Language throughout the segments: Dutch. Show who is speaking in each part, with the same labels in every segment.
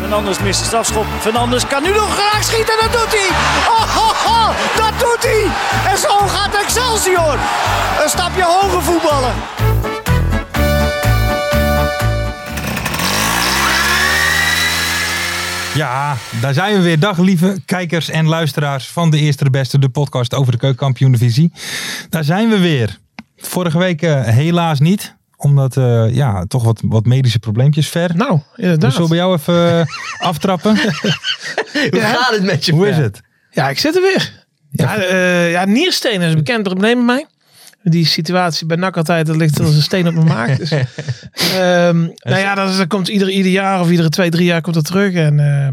Speaker 1: Fernandes mist de strafschop. Fernandes kan nu nog graag schieten. Dat doet hij. Oh, oh, oh, dat doet hij. En zo gaat Excelsior. Een stapje hoger voetballen.
Speaker 2: Ja, daar zijn we weer. Dag lieve kijkers en luisteraars van de Eerste de Beste, de podcast over de keukenkampioen divisie. Daar zijn we weer. Vorige week eh, helaas niet, omdat eh, ja, toch wat, wat medische probleempjes ver.
Speaker 3: Nou,
Speaker 2: we
Speaker 3: inderdaad.
Speaker 4: Dus
Speaker 2: zullen bij jou even eh, aftrappen.
Speaker 3: Hoe gaat het met je?
Speaker 2: Hoe is het?
Speaker 3: Ja, ik zit er weer. Ja, eh, ja Niersteen is een bekend probleem bij mij. Die situatie bij NAC altijd, dat ligt als een steen op mijn maag. Dus, ehm, nou ja, dat, is, dat komt ieder, ieder jaar of iedere twee, drie jaar komt dat terug. En eh,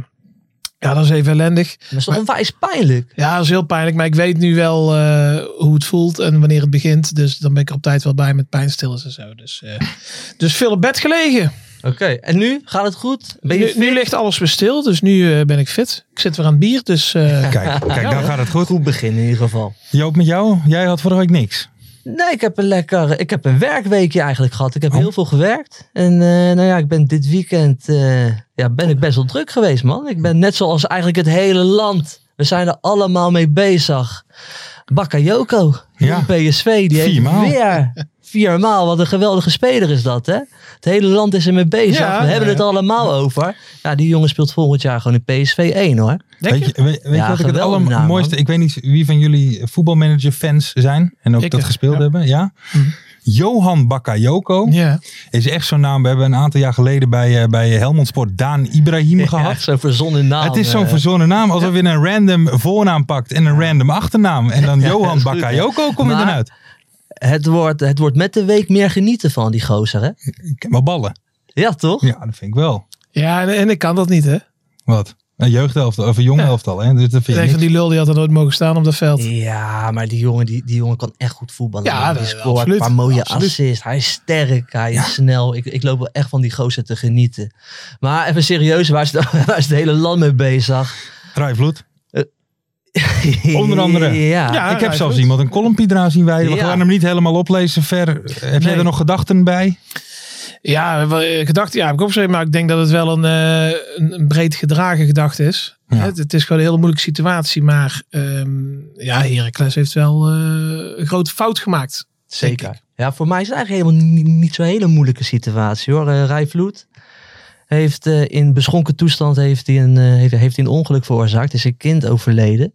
Speaker 3: ja, dat is even ellendig.
Speaker 4: Dat is toch onwijs pijnlijk?
Speaker 3: Ja, dat is heel pijnlijk. Maar ik weet nu wel eh, hoe het voelt en wanneer het begint. Dus dan ben ik er op tijd wel bij met pijnstillers en zo. Dus, eh, dus veel op bed gelegen.
Speaker 4: Oké, en nu? Gaat het goed? Ben je
Speaker 3: Nu, nu
Speaker 4: fit?
Speaker 3: ligt alles weer stil, dus nu eh, ben ik fit. Ik zit weer aan het bier, dus... eh,
Speaker 2: Kijk, kijk, daar gaat het goed.
Speaker 4: Goed begin in ieder geval.
Speaker 2: Joop, met jou? Jij had vorige week niks.
Speaker 4: Nee, ik heb een lekker... Ik heb een werkweekje eigenlijk gehad.
Speaker 2: Oh.
Speaker 4: Ik heb heel veel gewerkt. En eh, nou ja, ik ben dit weekend... eh, ja, ben ik best wel druk geweest, man. Ik ben net zoals eigenlijk het hele land. We zijn er allemaal mee bezig. Bakayoko.
Speaker 2: Ja.
Speaker 4: Ja. PSV. Die heeft
Speaker 2: Viermaal.
Speaker 4: weer... Viermaal. Wat een geweldige speler is dat, hè? Het hele land is ermee bezig.
Speaker 3: Ja,
Speaker 4: We
Speaker 2: nou
Speaker 4: hebben
Speaker 3: ja.
Speaker 4: het allemaal over. Ja, die jongen speelt volgend jaar gewoon in PSV 1, hoor.
Speaker 3: Denk
Speaker 2: Weet je, weet, weet
Speaker 4: Ja,
Speaker 2: je wat ik het
Speaker 4: geweldig
Speaker 2: allermooiste...
Speaker 4: naam,
Speaker 2: Ik weet niet wie van jullie voetbalmanager fans zijn en ook
Speaker 3: Ik,
Speaker 2: dat
Speaker 3: eh,
Speaker 2: gespeeld
Speaker 3: ja. Mhm.
Speaker 2: hebben. Ja? Johan Bakayoko.
Speaker 3: Ja.
Speaker 2: Is echt zo'n naam. We hebben een aantal jaar geleden bij, eh, bij Helmond Sport Daan Ibrahim
Speaker 4: Ja,
Speaker 2: gehad.
Speaker 4: zo'n verzonnen naam.
Speaker 2: het is zo'n
Speaker 4: eh.
Speaker 2: verzonnen naam. Alsof je een random voornaam pakt en een random achternaam. En dan Johan Bakayoko kom je
Speaker 4: Maar-
Speaker 2: dan uit.
Speaker 4: Het wordt, het wordt met de week meer genieten van die gozer, hè?
Speaker 2: Ik heb wel ballen.
Speaker 4: Ja, toch?
Speaker 2: Ja, dat vind ik wel.
Speaker 3: Ja, en, en ik kan dat niet, hè?
Speaker 2: Wat? Een jeugdhelftal of een jongenhelftal. Hè? Dus dat vind je
Speaker 3: Nee, van
Speaker 2: niks.
Speaker 3: die lul die had er nooit mogen staan op dat veld.
Speaker 4: Ja, maar die jongen, die, die jongen kan echt goed voetballen.
Speaker 3: Ja,
Speaker 4: man.
Speaker 3: dat
Speaker 4: die
Speaker 3: is wel absoluut.
Speaker 4: een paar mooie
Speaker 3: Absoluut.
Speaker 4: assists. Hij is sterk, hij is snel. Ik, ik loop wel echt van die gozer te genieten. Maar even serieus, waar is, het- waar is het hele land mee bezig?
Speaker 2: Rijvloed. Onder andere.
Speaker 4: Ja.
Speaker 3: Ja.
Speaker 2: ik heb zelfs
Speaker 3: Rijvloed.
Speaker 2: iemand een columnpie eraan zien wijden. We
Speaker 4: Ja.
Speaker 2: gaan hem niet helemaal oplezen. Ver, heb jij
Speaker 3: Nee.
Speaker 2: er nog gedachten bij?
Speaker 3: Ja, wel, eh, gedachte, ja, heb ik opgeschreven, maar ik denk dat het wel een, eh, een, een breed gedragen gedachte is.
Speaker 2: Ja.
Speaker 3: Het, het is gewoon een hele moeilijke situatie, maar ehm, ja, Heracles heeft wel eh, een grote fout gemaakt. denk
Speaker 4: Zeker. Ja, voor mij is het eigenlijk helemaal niet, niet zo'n hele moeilijke situatie hoor. Eh Rijvloed heeft eh, in beschonken toestand heeft hij een, eh, heeft, heeft hij een ongeluk veroorzaakt. Is een kind overleden.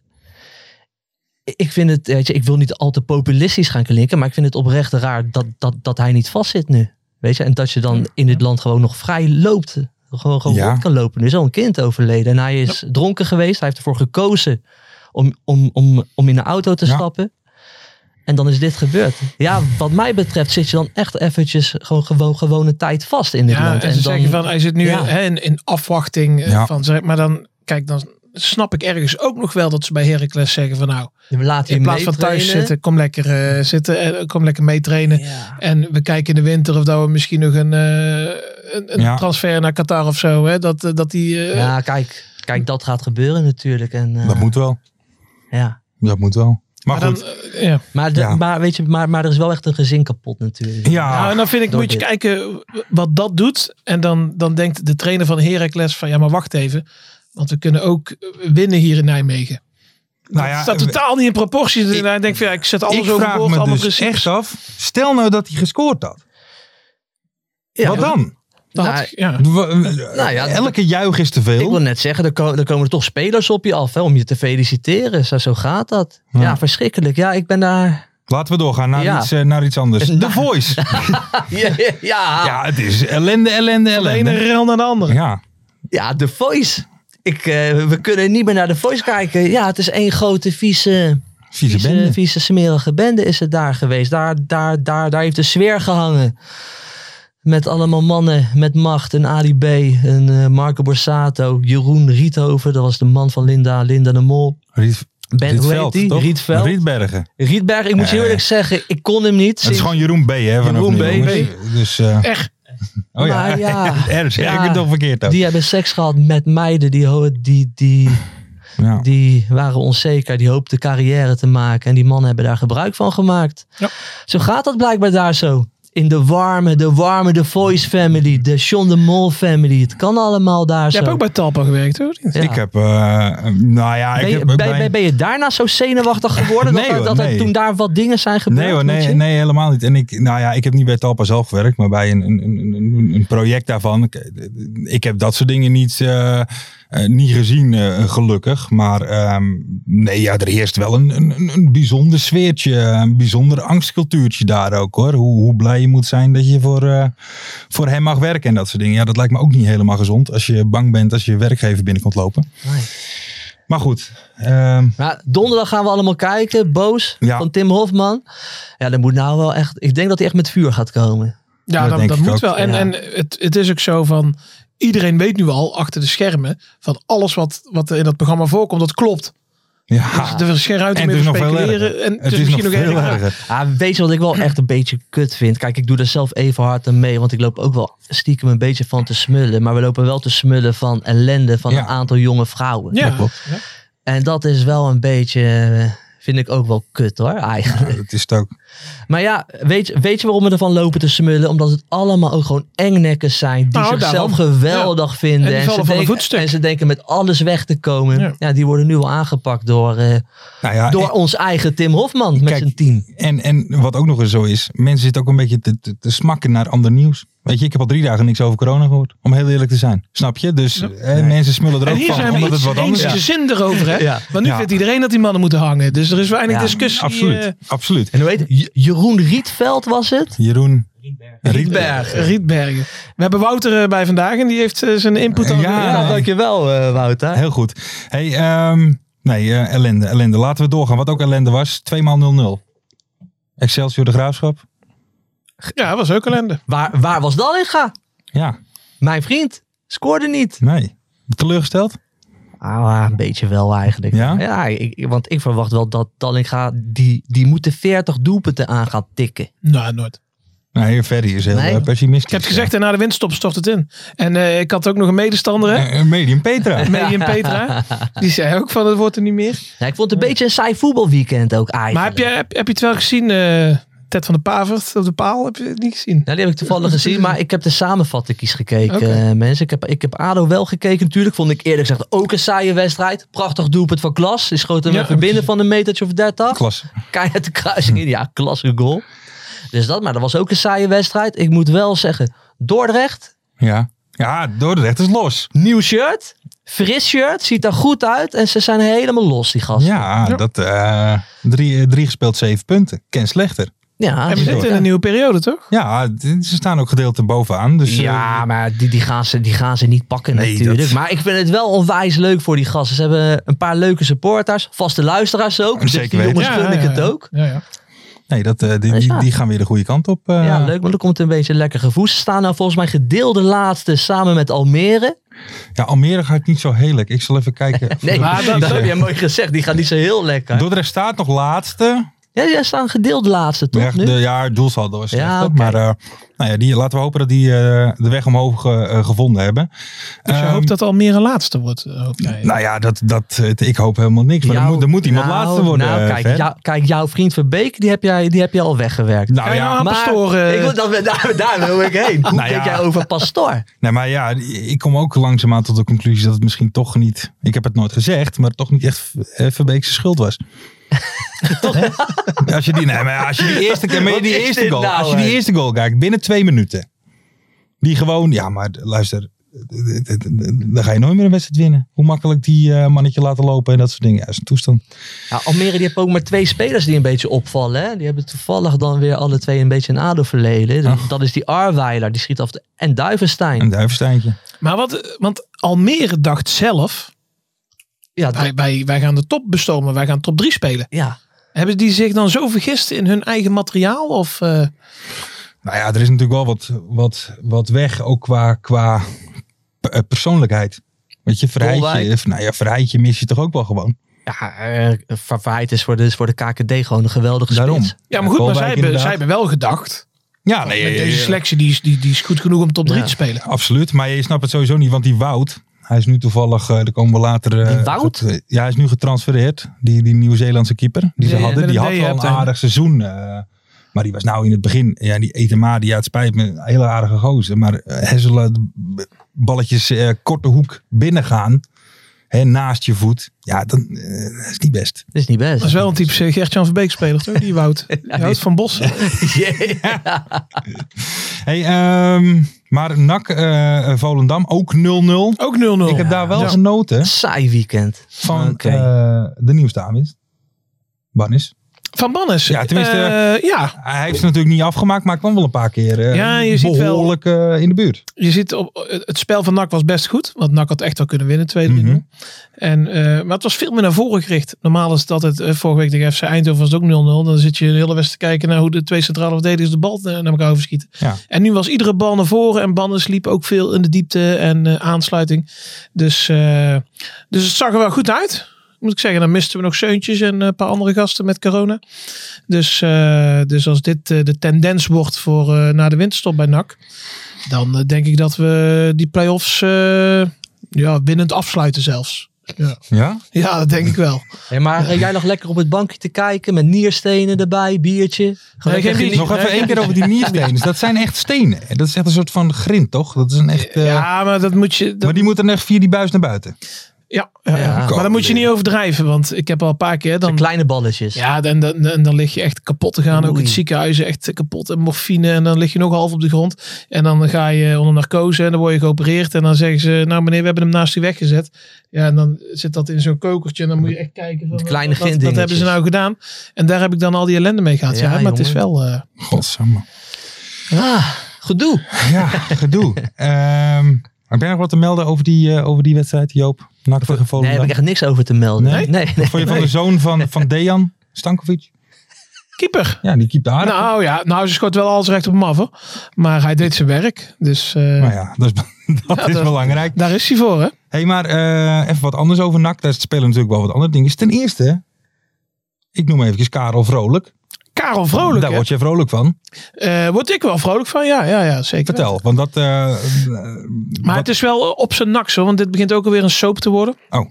Speaker 4: I- Ik vind het, weet je, ik wil niet al te populistisch gaan klinken, maar ik vind het oprecht raar dat, dat, dat hij niet vastzit nu. Weet je, en dat je dan in dit land gewoon nog vrij loopt. Gewoon, gewoon
Speaker 2: Ja.
Speaker 4: rond kan lopen. Er is al een kind overleden en hij is dronken geweest. Hij heeft ervoor gekozen om, om, om, om in een auto te
Speaker 2: Ja.
Speaker 4: stappen. En dan is dit gebeurd. Ja, wat mij betreft zit je dan echt eventjes gewoon, gewoon gewone tijd vast in dit
Speaker 3: Ja, en
Speaker 4: land.
Speaker 3: ze
Speaker 4: dan,
Speaker 3: zeggen van, hij zit nu
Speaker 4: Ja.
Speaker 3: hè, in, in afwachting eh,
Speaker 2: Ja.
Speaker 3: van, zeg, maar dan, kijk, dan snap ik ergens ook nog wel dat ze bij Heracles zeggen van, nou,
Speaker 4: laat
Speaker 3: in plaats van thuis zitten, eh, kom lekker eh, zitten en kom lekker meetrainen.
Speaker 4: Ja.
Speaker 3: En we kijken in de winter of dat we misschien nog een, eh, een, een
Speaker 2: Ja.
Speaker 3: transfer naar Qatar of zo. Hè? Dat, eh, dat die, eh,
Speaker 4: ja, kijk, kijk, dat gaat gebeuren natuurlijk. En, eh,
Speaker 2: Dat moet wel.
Speaker 4: Ja.
Speaker 2: Dat moet wel. Maar,
Speaker 3: maar dan,
Speaker 2: goed.
Speaker 3: eh, ja.
Speaker 4: Maar, de-
Speaker 2: Ja.
Speaker 4: maar, weet je, maar, maar er is wel echt een gezin kapot natuurlijk.
Speaker 2: ja,
Speaker 3: Nou, en dan vind ik,
Speaker 4: door
Speaker 3: moet je
Speaker 4: dit.
Speaker 3: kijken wat dat doet. En dan, dan denkt de trainer van Heracles van, ja maar wacht even. Want we kunnen ook winnen hier in Nijmegen.
Speaker 2: nou ja,
Speaker 3: Het staat totaal niet in proportie. Ik, ik denk van, ja, ik zet alles
Speaker 2: ik vraag
Speaker 3: overboord,
Speaker 2: me
Speaker 3: alle
Speaker 2: dus
Speaker 3: principes.
Speaker 2: echt af. Stel nou dat hij gescoord had.
Speaker 4: Ja.
Speaker 2: Wat dan?
Speaker 3: Dat had
Speaker 4: Nou,
Speaker 3: ik- ja.
Speaker 2: Nou
Speaker 4: ja,
Speaker 2: Elke juich is te
Speaker 4: Ik wil
Speaker 2: veel.
Speaker 4: net zeggen, er komen, er komen er toch spelers op je af hè, om je te feliciteren. Zo, zo gaat dat.
Speaker 2: Ja.
Speaker 4: Ja. verschrikkelijk. Ja, ik ben daar
Speaker 2: Laten we doorgaan naar,
Speaker 4: Ja.
Speaker 2: iets, eh, naar iets anders. The Voice.
Speaker 4: ja, ja.
Speaker 2: Ja, het is ellende, ellende,
Speaker 3: De ene
Speaker 2: ellende.
Speaker 3: rel naar de andere.
Speaker 2: Ja,
Speaker 4: ja, The Voice. Ik, eh, we kunnen niet meer naar The Voice kijken. Ja, het is één grote vieze...
Speaker 2: vieze
Speaker 4: vieze,
Speaker 2: bende.
Speaker 4: vieze smerige bende is het daar geweest. Daar, daar, daar, daar heeft de sfeer gehangen. Met allemaal mannen met macht. Een Ali B, een eh, Marco Borsato, Jeroen Riethoven. Dat was de man van Linda, Linda de Mol.
Speaker 2: Riet,
Speaker 4: Ben, hoe heet
Speaker 2: Rietveld,
Speaker 4: die?
Speaker 2: toch?
Speaker 4: Rietveld.
Speaker 2: Rietbergen.
Speaker 4: Rietberg, ik moet je
Speaker 2: Eh.
Speaker 4: eerlijk zeggen, ik kon hem niet.
Speaker 2: Het is gewoon Jeroen B, hè? Vanaf
Speaker 4: Jeroen
Speaker 2: nu,
Speaker 4: B.
Speaker 2: jongens. Dus, eh,
Speaker 3: Echt.
Speaker 2: Oh ja.
Speaker 4: Maar ja.
Speaker 2: Ergens zeg ik
Speaker 4: Ja.
Speaker 2: het toch verkeerd ook.
Speaker 4: Die hebben seks gehad met meiden die, ho- die, die,
Speaker 2: ja.
Speaker 4: die waren onzeker. Die hoopten carrière te maken. En die mannen hebben daar gebruik van gemaakt.
Speaker 3: Ja.
Speaker 4: Zo gaat dat blijkbaar daar zo. In de warme, de warme, de Voice Family. De Sean de Mol Family. Het kan allemaal daar
Speaker 3: Je
Speaker 4: zo.
Speaker 3: hebt ook bij Talpa gewerkt, hoor.
Speaker 4: Ja.
Speaker 2: Ik heb, eh, nou ja,
Speaker 4: ben,
Speaker 2: ik
Speaker 4: je,
Speaker 2: heb
Speaker 4: ben,
Speaker 2: bij-
Speaker 4: ben- ben je daarna zo zenuwachtig geworden?
Speaker 2: Nee,
Speaker 4: dat er-
Speaker 2: hoor,
Speaker 4: dat er
Speaker 2: nee.
Speaker 4: toen daar wat dingen zijn gebeurd?
Speaker 2: Nee hoor,
Speaker 4: moet
Speaker 2: nee,
Speaker 4: je?
Speaker 2: nee, helemaal niet. En ik, nou ja, ik heb niet bij Talpa zelf gewerkt, maar bij een, een, een, een- een project daarvan. Ik, ik heb dat soort dingen niet, eh, eh, niet gezien, eh, gelukkig. Maar ehm, nee, ja, er heerst wel een, een, een- een bijzonder sfeertje, een bijzonder angstcultuurtje daar ook hoor. Hoe, hoe blij je moet zijn dat je voor, eh, voor hem mag werken en dat soort dingen. Ja, dat lijkt me ook niet helemaal gezond als je bang bent als je werkgever binnenkomt lopen.
Speaker 4: Nee.
Speaker 2: Maar goed, ehm,
Speaker 4: Maar donderdag gaan we allemaal kijken. Boos
Speaker 2: Ja.
Speaker 4: van Tim Hofman. Ja, dat moet nou wel echt. Ik denk dat hij echt met vuur gaat komen.
Speaker 3: Ja,
Speaker 2: Dat
Speaker 3: dat,
Speaker 2: denk
Speaker 3: dat
Speaker 2: ik
Speaker 3: moet
Speaker 2: ook,
Speaker 3: wel. En,
Speaker 4: ja.
Speaker 3: en het, het is ook zo van... Iedereen weet nu al, achter de schermen... van alles wat, wat er in dat programma voorkomt, dat klopt.
Speaker 2: ja.
Speaker 3: Dus er is geen ruimte
Speaker 2: Ah. En
Speaker 3: meer
Speaker 2: het
Speaker 3: voor
Speaker 2: is nog veel
Speaker 3: speculeren. En
Speaker 2: Het is nog veel
Speaker 3: erger.
Speaker 2: erger.
Speaker 4: Ah, weet je wat ik wel echt een beetje kut vind? Kijk, ik doe er zelf even hard aan mee. Want ik loop ook wel stiekem een beetje van te smullen. Maar we lopen wel te smullen van ellende van
Speaker 2: Ja.
Speaker 4: een aantal jonge vrouwen.
Speaker 3: Ja.
Speaker 4: En dat is wel een beetje. eh, Vind ik ook wel kut hoor, eigenlijk.
Speaker 2: Het is het ook.
Speaker 4: Maar ja, weet, je- weet je waarom we ervan lopen te smullen? Omdat het allemaal ook gewoon engnekkers zijn. Die
Speaker 3: Nou,
Speaker 4: zichzelf
Speaker 3: daarom.
Speaker 4: geweldig vinden.
Speaker 3: En die vallen
Speaker 4: ze
Speaker 3: van de
Speaker 4: denken,
Speaker 3: voetstuk.
Speaker 4: en ze denken met alles weg te komen. Ja,
Speaker 3: Ja.
Speaker 4: die worden nu al aangepakt door, eh,
Speaker 2: Nou ja,
Speaker 4: door ons eigen Tim Hofman met
Speaker 2: Kijk,
Speaker 4: zijn team.
Speaker 2: En, en wat ook nog eens zo is, mensen zitten ook een beetje te, te, te smakken naar ander nieuws. Weet je, ik heb al drie dagen niks over corona gehoord. Om heel eerlijk te zijn. Snap je? Dus eh, mensen smullen er
Speaker 3: En
Speaker 2: ook
Speaker 3: hier
Speaker 2: van,
Speaker 3: zijn we
Speaker 2: omdat het wat
Speaker 3: iets eens
Speaker 2: anders
Speaker 3: in
Speaker 2: is.
Speaker 3: zin erover, hè?
Speaker 4: Ja.
Speaker 3: Want nu
Speaker 2: Ja.
Speaker 3: vindt iedereen dat die mannen moeten hangen. Dus er is weinig
Speaker 4: Ja,
Speaker 3: discussie.
Speaker 2: Absoluut,
Speaker 3: eh,
Speaker 2: absoluut.
Speaker 4: En hoe heet het? J- Jeroen Rietveld was het?
Speaker 2: Jeroen
Speaker 3: Rietbergen. Rietbergen. We hebben Wouter eh, bij vandaag en die heeft eh, zijn input al.
Speaker 2: Ja,
Speaker 3: gegeven.
Speaker 4: dankjewel eh Wouter.
Speaker 2: Heel goed. Hey, ehm, nee, eh, ellende, ellende. Laten we doorgaan. Wat ook ellende was, 2x0-0. Excelsior de Graafschap.
Speaker 3: ja, was ook ellende.
Speaker 4: Waar, waar was Dallinga?
Speaker 2: Ja,
Speaker 4: Mijn vriend scoorde niet.
Speaker 2: nee. Teleurgesteld?
Speaker 4: Ah, een beetje wel eigenlijk.
Speaker 2: Ja?
Speaker 4: ik, want ik verwacht wel dat Dallinga, die, die moet de 40 doelpunten aan gaan tikken.
Speaker 3: Nou, nooit.
Speaker 2: Nee, Ferry is heel
Speaker 4: Nee.
Speaker 2: eh,
Speaker 3: Ik
Speaker 2: pessimistisch.
Speaker 3: heb het gezegd en na de winststop stort het in. En eh, ik had ook nog een medestander, hè?
Speaker 2: Eh, eh, Medium Petra.
Speaker 3: Medium Petra. Die zei ook van, het wordt er niet meer.
Speaker 4: Ja, ik vond het een beetje een saai voetbalweekend ook eigenlijk.
Speaker 3: Maar heb je, heb, heb je het wel gezien, eh, Ted van de Pavert op de paal? Heb je het niet gezien?
Speaker 4: Nou, die heb ik toevallig gezien, maar ik heb de samenvattingkies gekeken,
Speaker 3: Oké.
Speaker 4: eh, mensen. Ik heb, ik heb ADO wel gekeken natuurlijk. Vond ik eerlijk gezegd ook een saaie wedstrijd. Prachtig doelpunt van Klas. Die schoot hem
Speaker 3: Ja,
Speaker 4: even binnen van een metertje of 30.
Speaker 2: Klas.
Speaker 4: Keihard de kruising in. Ja, klasse goal. Dus dat, maar dat was ook een saaie wedstrijd. Ik moet wel zeggen, Dordrecht,
Speaker 2: Ja. Ja, Dordrecht is los.
Speaker 4: nieuw shirt. Fris shirt, ziet er goed uit. En ze zijn helemaal los, die gasten.
Speaker 2: Ja, dat eh, drie, eh, drie gespeeld zeven punten. Ken slechter.
Speaker 4: ja,
Speaker 3: en we
Speaker 4: dus-
Speaker 3: zitten in een nieuwe periode, toch?
Speaker 2: Ja, d- ze staan ook gedeelte bovenaan. Dus, eh,
Speaker 4: Ja, maar die, die, gaan ze, die gaan ze niet pakken
Speaker 2: Nee,
Speaker 4: natuurlijk.
Speaker 2: dat-
Speaker 4: Maar ik vind het wel onwijs leuk voor die gasten. Ze hebben een paar leuke supporters, vaste luisteraars ook. Dus
Speaker 2: Zeker
Speaker 4: die
Speaker 2: weten.
Speaker 4: jongens gun ik het ook.
Speaker 3: Ja, ja.
Speaker 2: nee, dat, eh, die,
Speaker 4: Dat is
Speaker 2: die,
Speaker 4: waar.
Speaker 2: die gaan weer de goede kant op. eh.
Speaker 4: Ja, leuk, want er komt een beetje lekker gevoel. Ze staan nou volgens mij gedeelde laatste samen met Almere.
Speaker 2: Ja, Almere gaat niet zo heerlijk. Ik zal even kijken.
Speaker 4: Nee,
Speaker 2: Voor-
Speaker 4: maar dat,
Speaker 2: Iedereen.
Speaker 4: heb je mooi gezegd. Die gaan niet zo heel lekker.
Speaker 2: Dordrecht staat nog laatste.
Speaker 4: Ja, ze staan gedeeld laatste toch
Speaker 2: Ja, de,
Speaker 4: nu?
Speaker 2: ja, het doelsaldo was slecht.
Speaker 4: Ja,
Speaker 2: hoor.
Speaker 4: oké.
Speaker 2: Maar eh, nou ja, die, laten we hopen dat die eh, de weg omhoog eh, eh, gevonden hebben.
Speaker 3: Dus je
Speaker 2: Ehm,
Speaker 3: hoopt dat Almere laatste wordt. eh, hoop jij.
Speaker 2: Nou ja, dat, dat, eh, ik hoop helemaal niks. Maar er,
Speaker 4: Jouw-
Speaker 2: moet, er moet iemand
Speaker 4: nou,
Speaker 2: laatste worden.
Speaker 4: Nou,
Speaker 2: eh,
Speaker 4: kijk,
Speaker 2: Fer.
Speaker 4: jou- kijk, jouw vriend Verbeek, die heb jij, die heb jij al weggewerkt.
Speaker 2: nou
Speaker 3: Kan je
Speaker 2: ja,
Speaker 3: nou aan Pastoor, eh,
Speaker 4: ik wil, dat, daar, daar wil ik heen. Hoe
Speaker 2: Nou
Speaker 4: denk
Speaker 2: ja.
Speaker 4: jij over Pastoor?
Speaker 2: Nee, maar ja, ik kom ook langzaamaan tot de conclusie dat het misschien toch niet, ik heb het nooit gezegd, maar toch niet echt eh, Verbeekse schuld was. als je die, nee, maar als je die eerste, maar
Speaker 4: Wat
Speaker 2: die
Speaker 4: is
Speaker 2: eerste
Speaker 4: dit
Speaker 2: goal,
Speaker 4: nou,
Speaker 2: als je die
Speaker 4: hè?
Speaker 2: eerste goal kijkt, binnen twee minuten, die gewoon, ja, maar luister, dan ga je nooit meer een wedstrijd winnen. Hoe makkelijk die eh, mannetje laten lopen en dat soort dingen. Ja, dat is een toestand.
Speaker 4: Ja, Nou, Almere die heeft ook maar twee spelers die een beetje opvallen. Hè? Die hebben toevallig dan weer alle twee een beetje een ADO-verleden. Dus
Speaker 2: Oh.
Speaker 4: Dat is die Arweiler, die schiet af. De, en Duivenstein.
Speaker 2: Een duivensteintje.
Speaker 3: Maar wat, eh, want Almere dacht zelf,
Speaker 4: ja, dat-
Speaker 3: wij, wij, wij gaan de top bestomen, wij gaan top 3 spelen.
Speaker 4: ja.
Speaker 3: Hebben die zich dan zo vergist in hun eigen materiaal? Of, eh,
Speaker 2: Nou ja, er is natuurlijk wel wat, wat, wat weg, ook qua, qua p- eh, persoonlijkheid. Weet je,
Speaker 4: Dolwijk.
Speaker 2: Verheidje, eh, nou ja, Verheidje mis je toch ook wel gewoon.
Speaker 4: ja eh, Ver- Verheid is voor de, is voor de KKD gewoon een geweldige
Speaker 2: Daarom.
Speaker 4: spits.
Speaker 3: ja, maar goed, maar
Speaker 2: Kolwijk
Speaker 3: zij hebben,
Speaker 2: inderdaad.
Speaker 3: zij hebben wel gedacht.
Speaker 2: Ja, nee,
Speaker 3: met
Speaker 2: eh,
Speaker 3: deze
Speaker 2: eh,
Speaker 3: selectie die is, die, die is goed genoeg om top 3
Speaker 4: Ja.
Speaker 3: te spelen.
Speaker 2: absoluut. Maar je snapt het sowieso niet, want die Wout, hij is nu toevallig, eh, daar komen we later... eh,
Speaker 4: Die Wout?
Speaker 2: goed, eh, ja, hij is nu getransfereerd. Die, die Nieuw-Zeelandse keeper die ze
Speaker 3: Ja, ja,
Speaker 2: hadden,
Speaker 3: met
Speaker 2: die
Speaker 3: een
Speaker 2: had
Speaker 3: D
Speaker 2: wel een
Speaker 3: hebt, hè?
Speaker 2: aardig seizoen. eh, maar die was nou in het begin, ja, die Etemadia, het spijt me, een hele aardige gozer. Maar eh, hij zal eh, b- balletjes eh, korte hoek binnengaan, hè, naast je voet. Ja, dan, eh, dat is niet best.
Speaker 4: Dat is niet best.
Speaker 3: Dat is wel een typische Gert-Jan van Beek speler, toch? Die Wout. Die Wout van Bos.
Speaker 2: Hey, ehm, maar NAC eh, Volendam ook 0-0.
Speaker 3: Ook 0-0.
Speaker 2: Ik heb daar wel
Speaker 3: Ja.
Speaker 2: genoten
Speaker 4: Saai weekend.
Speaker 2: van
Speaker 4: Oké.
Speaker 2: eh, de nieuwste aanwinst. Bannis.
Speaker 3: Van Bannes.
Speaker 2: Ja, tenminste,
Speaker 3: Eh, ja,
Speaker 2: Hij heeft het natuurlijk niet afgemaakt, maar kwam wel een paar keer eh,
Speaker 3: Ja, je ziet wel-
Speaker 2: behoorlijk eh, in de buurt.
Speaker 3: je ziet op, het spel van NAC was best goed. Want NAC had echt wel kunnen winnen, 2-3.
Speaker 2: Mhm.
Speaker 3: En, eh, maar het was veel meer naar voren gericht. Normaal is dat het, eh, vorige week tegen FC Eindhoven was het ook 0-0. Dan zit je de hele wedstrijd te kijken naar hoe de twee centrale verdedigers de bal eh, naar elkaar overschieten.
Speaker 2: Ja.
Speaker 3: En nu was iedere bal naar voren en Bannes liep ook veel in de diepte en eh, aansluiting. Dus, eh, dus het zag er wel goed uit. Moet ik zeggen, dan misten we nog Seuntjes en eh, een paar andere gasten met corona. Dus, eh, dus als dit eh, de tendens wordt voor eh, na de winterstop bij NAC, dan eh, denk ik dat we die play-offs eh, ja, winnend afsluiten zelfs.
Speaker 2: Ja?
Speaker 3: Ja, dat denk ik wel.
Speaker 4: Hey, maar eh, jij lag lekker op het bankje te kijken met nierstenen erbij, biertje. Gewoon
Speaker 3: Nee,
Speaker 4: lekker
Speaker 3: geen
Speaker 4: genieten.
Speaker 2: Nog even één keer over die nierstenen. Dus dat zijn echt stenen. Dat is echt een soort van grind, toch? Dat is een echt... eh,
Speaker 3: ja, maar dat moet je. Dat,
Speaker 2: Maar die moeten echt via die buis naar buiten.
Speaker 3: ja, ja, ja.
Speaker 4: Ja.
Speaker 3: maar dat moet je niet overdrijven, want ik heb al een paar keer
Speaker 4: De
Speaker 3: dan.
Speaker 4: kleine balletjes.
Speaker 3: Ja, dan, dan, dan, dan lig je echt kapot te gaan. Ook in
Speaker 4: Oei.
Speaker 3: het ziekenhuis echt kapot. En morfine. En dan lig je nog half op de grond. En dan ga je onder narcose. En dan word je geopereerd. En dan zeggen ze, nou meneer, we hebben hem naast u weggezet. Ja, en dan zit dat in zo'n kokertje. En dan moet je echt kijken van,
Speaker 4: Die kleine
Speaker 3: wat- wat, wat
Speaker 4: gindingetjes.
Speaker 3: hebben ze nou gedaan? En daar heb ik dan al die ellende mee gehad. Ja,
Speaker 4: Ja,
Speaker 3: maar het is
Speaker 4: jongen.
Speaker 3: wel... eh,
Speaker 2: Godsamme.
Speaker 4: Ah, gedoe.
Speaker 2: Ja, gedoe. Ehm, heb jij nog wat te melden over die, eh, over die wedstrijd, Joop? NAC tegen
Speaker 4: Nee,
Speaker 2: Volendam.
Speaker 4: heb ik echt niks over te melden.
Speaker 2: Nee?
Speaker 4: nee.
Speaker 2: Wat vond je van de zoon van, van Dejan Stankovic?
Speaker 3: keeper.
Speaker 2: Ja, die keept aardig.
Speaker 3: Nou ja, nou ze schoot wel alles recht op hem af, hoor. Maar hij deed zijn werk. Dus eh,
Speaker 2: maar ja, dat is, dat is
Speaker 3: dat-
Speaker 2: belangrijk.
Speaker 3: daar is hij voor, hè?
Speaker 2: Hé, hey, maar eh, even wat anders over NAC. Daar spelen natuurlijk wel wat andere dingen. Ten eerste, ik noem even Karel Vrolijk.
Speaker 3: Karel Vrolijk,
Speaker 2: Daar
Speaker 3: hè?
Speaker 2: word je vrolijk van.
Speaker 3: Eh, word ik wel vrolijk van. Ja, ja, ja zeker.
Speaker 2: Vertel, want dat... eh,
Speaker 3: Maar
Speaker 2: wat-
Speaker 3: het is wel eh, op zijn naks hoor, want dit begint ook alweer een soap te worden.
Speaker 2: Oh.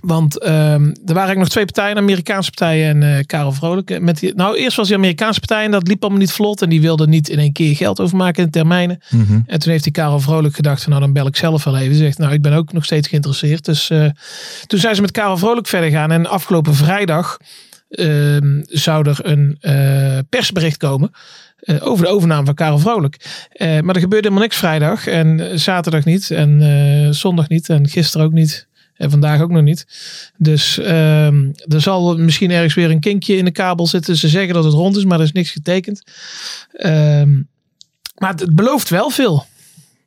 Speaker 3: Want ehm, er waren eigenlijk nog twee partijen, een Amerikaanse partij en eh, Karel Vrolijk. Eh, Met die, nou, eerst was die Amerikaanse partij en dat liep allemaal niet vlot. En die wilde niet in één keer geld overmaken in termijnen.
Speaker 2: Mhm.
Speaker 3: En toen heeft die Karel Vrolijk gedacht, van, nou dan bel ik zelf wel even. Ze zegt, nou ik ben ook nog steeds geïnteresseerd. Dus eh, toen zijn ze met Karel Vrolijk verder gaan. En afgelopen vrijdag ehm, zou er een eh, persbericht komen eh, over de overname van Karel Vrolijk. Eh, maar er gebeurde helemaal niks vrijdag. En eh, zaterdag niet. En eh, zondag niet. En gisteren ook niet. En vandaag ook nog niet. Dus ehm, er zal misschien ergens weer een kinkje in de kabel zitten. Ze zeggen dat het rond is, maar er is niks getekend. Ehm, maar het- het belooft wel veel.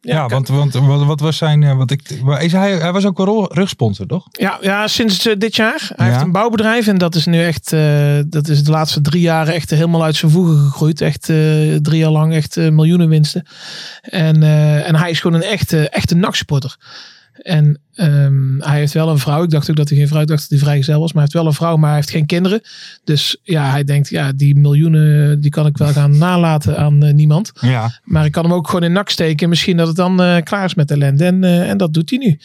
Speaker 2: Ja, want, want wat, wat was zijn... eh, Want ik, maar is hij, hij was ook wel ro- rugsponsor, toch?
Speaker 3: Ja, ja sinds eh, dit jaar. Hij
Speaker 2: Ja.
Speaker 3: heeft een bouwbedrijf en dat is nu echt, eh, dat is de laatste drie jaren echt helemaal uit zijn voegen gegroeid. Echt eh, drie jaar lang echt eh, miljoenen winsten. En, eh, en hij is gewoon een echte, echte NAC-supporter. En ehm, hij heeft wel een vrouw. Ik dacht ook dat hij geen vrouw had. Ik dacht dat hij vrijgezel was. Maar hij heeft wel een vrouw, maar hij heeft geen kinderen. Dus ja, hij denkt, ja, die miljoenen eh, die kan ik wel gaan nalaten aan eh, niemand.
Speaker 2: Ja.
Speaker 3: Maar ik kan hem ook gewoon in nak steken. Misschien dat het dan eh, klaar is met ellende. En, eh, en dat doet hij nu.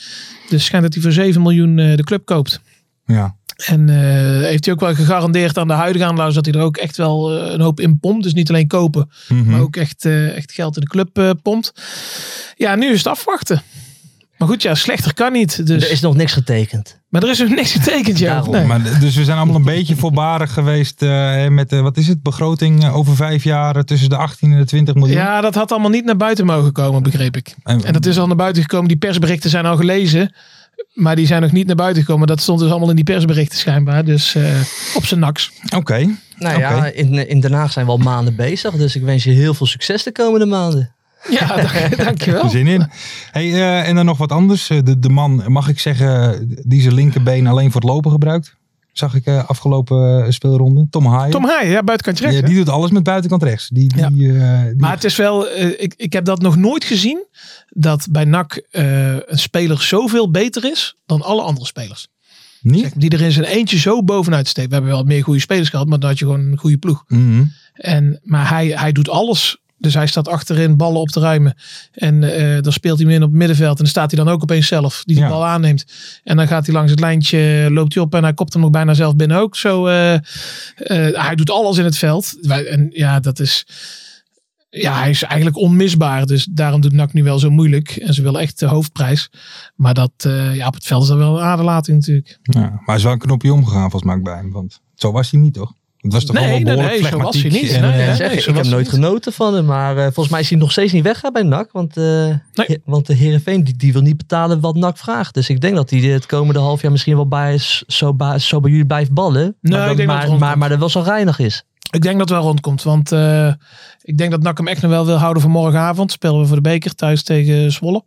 Speaker 3: Dus schijnt dat hij voor 7 miljoen eh, de club koopt.
Speaker 2: Ja.
Speaker 3: En eh, heeft hij ook wel gegarandeerd aan de huidige aanlouders dat hij er ook echt wel eh, een hoop in pompt. Dus niet alleen kopen,
Speaker 2: Mhm.
Speaker 3: maar ook echt, eh, echt geld in de club eh, pompt. Ja, nu is het afwachten. Maar goed, ja, slechter kan niet. Dus.
Speaker 4: Er is nog niks getekend.
Speaker 3: Maar er is dus niks getekend, ja.
Speaker 4: Daarom.
Speaker 3: Nee.
Speaker 2: Maar, d- dus we zijn allemaal een beetje voorbarig geweest eh, met, eh, wat is het, begroting eh, over vijf jaar eh, tussen de 18 en de 20 miljoen.
Speaker 3: Ja, dat had allemaal niet naar buiten mogen komen, begreep ik.
Speaker 2: En-
Speaker 3: En dat is al naar buiten gekomen. Die persberichten zijn al gelezen. Maar die zijn nog niet naar buiten gekomen. Dat stond dus allemaal in die persberichten schijnbaar. Dus eh, op zijn naks.
Speaker 2: Oké,
Speaker 4: Nou
Speaker 2: Oké.
Speaker 4: ja, in, in Den Haag zijn we al maanden bezig. Dus ik wens je heel veel succes de komende maanden.
Speaker 3: Ja, dank- dankjewel.
Speaker 2: zin in. Hey, eh, en dan nog wat anders. Eh, De, de man, mag ik zeggen, die zijn linkerbeen alleen voor het lopen gebruikt. Zag ik eh, afgelopen eh, speelronde. Tom Haaien.
Speaker 3: Tom Haaien, ja, buitenkantje rechts.
Speaker 2: Ja,
Speaker 3: hè?
Speaker 2: die doet alles met buitenkant rechts. Die, die, eh, die-
Speaker 3: Maar het is wel, eh, ik, ik heb dat nog nooit gezien. Dat bij NAC eh, een speler zoveel beter is dan alle andere spelers.
Speaker 2: niet?
Speaker 3: Die er in zijn eentje zo bovenuit steekt. We hebben wel meer goede spelers gehad, maar dan had je gewoon een goede ploeg.
Speaker 2: Mhm.
Speaker 3: En, maar hij, hij doet alles. Dus hij staat achterin ballen op te ruimen. En eh, dan speelt hij hem in op het middenveld. En dan staat hij dan ook opeens zelf. Die de
Speaker 2: Ja.
Speaker 3: bal aanneemt. En dan gaat hij langs het lijntje. Loopt hij op. En hij kopt hem ook bijna zelf binnen ook. Zo, eh, eh, hij doet alles in het veld. Wij- En ja, dat is... Ja, hij is eigenlijk onmisbaar. Dus daarom doet NAC nu wel zo moeilijk. En ze willen echt de hoofdprijs. Maar dat, eh, ja, op het veld is dat wel een aderlating natuurlijk.
Speaker 2: Ja, maar hij is wel een knopje omgegaan volgens mij bij hem. Want zo was hij niet, toch? Het was toch
Speaker 3: Nee,
Speaker 2: wel
Speaker 3: nee,
Speaker 2: behoorlijk
Speaker 3: nee, zo was
Speaker 2: flegmatiek
Speaker 3: hij niet.
Speaker 2: en,
Speaker 3: Nee,
Speaker 2: eh,
Speaker 3: nee,
Speaker 4: Ja,
Speaker 3: nee.
Speaker 4: zeg,
Speaker 3: zo
Speaker 4: ik
Speaker 3: was
Speaker 4: heb
Speaker 3: het
Speaker 4: nooit
Speaker 3: niet.
Speaker 4: genoten van hem. Maar eh, volgens mij is hij nog steeds niet weggaan bij NAC. Want, eh he- want de Heerenveen die, die wil niet betalen wat NAC vraagt. Dus ik denk dat hij het komende half jaar misschien wel bij, zo, bij, zo bij jullie blijft ballen.
Speaker 3: Nee,
Speaker 4: maar,
Speaker 3: ik denk dat het
Speaker 4: maar,
Speaker 3: rondkomt.
Speaker 4: maar, maar dat wel zo reinig is.
Speaker 3: Ik denk dat het wel rondkomt. Want eh, ik denk dat NAC hem echt nog wel wil houden voor morgenavond. Spelen we voor de beker thuis tegen Zwolle.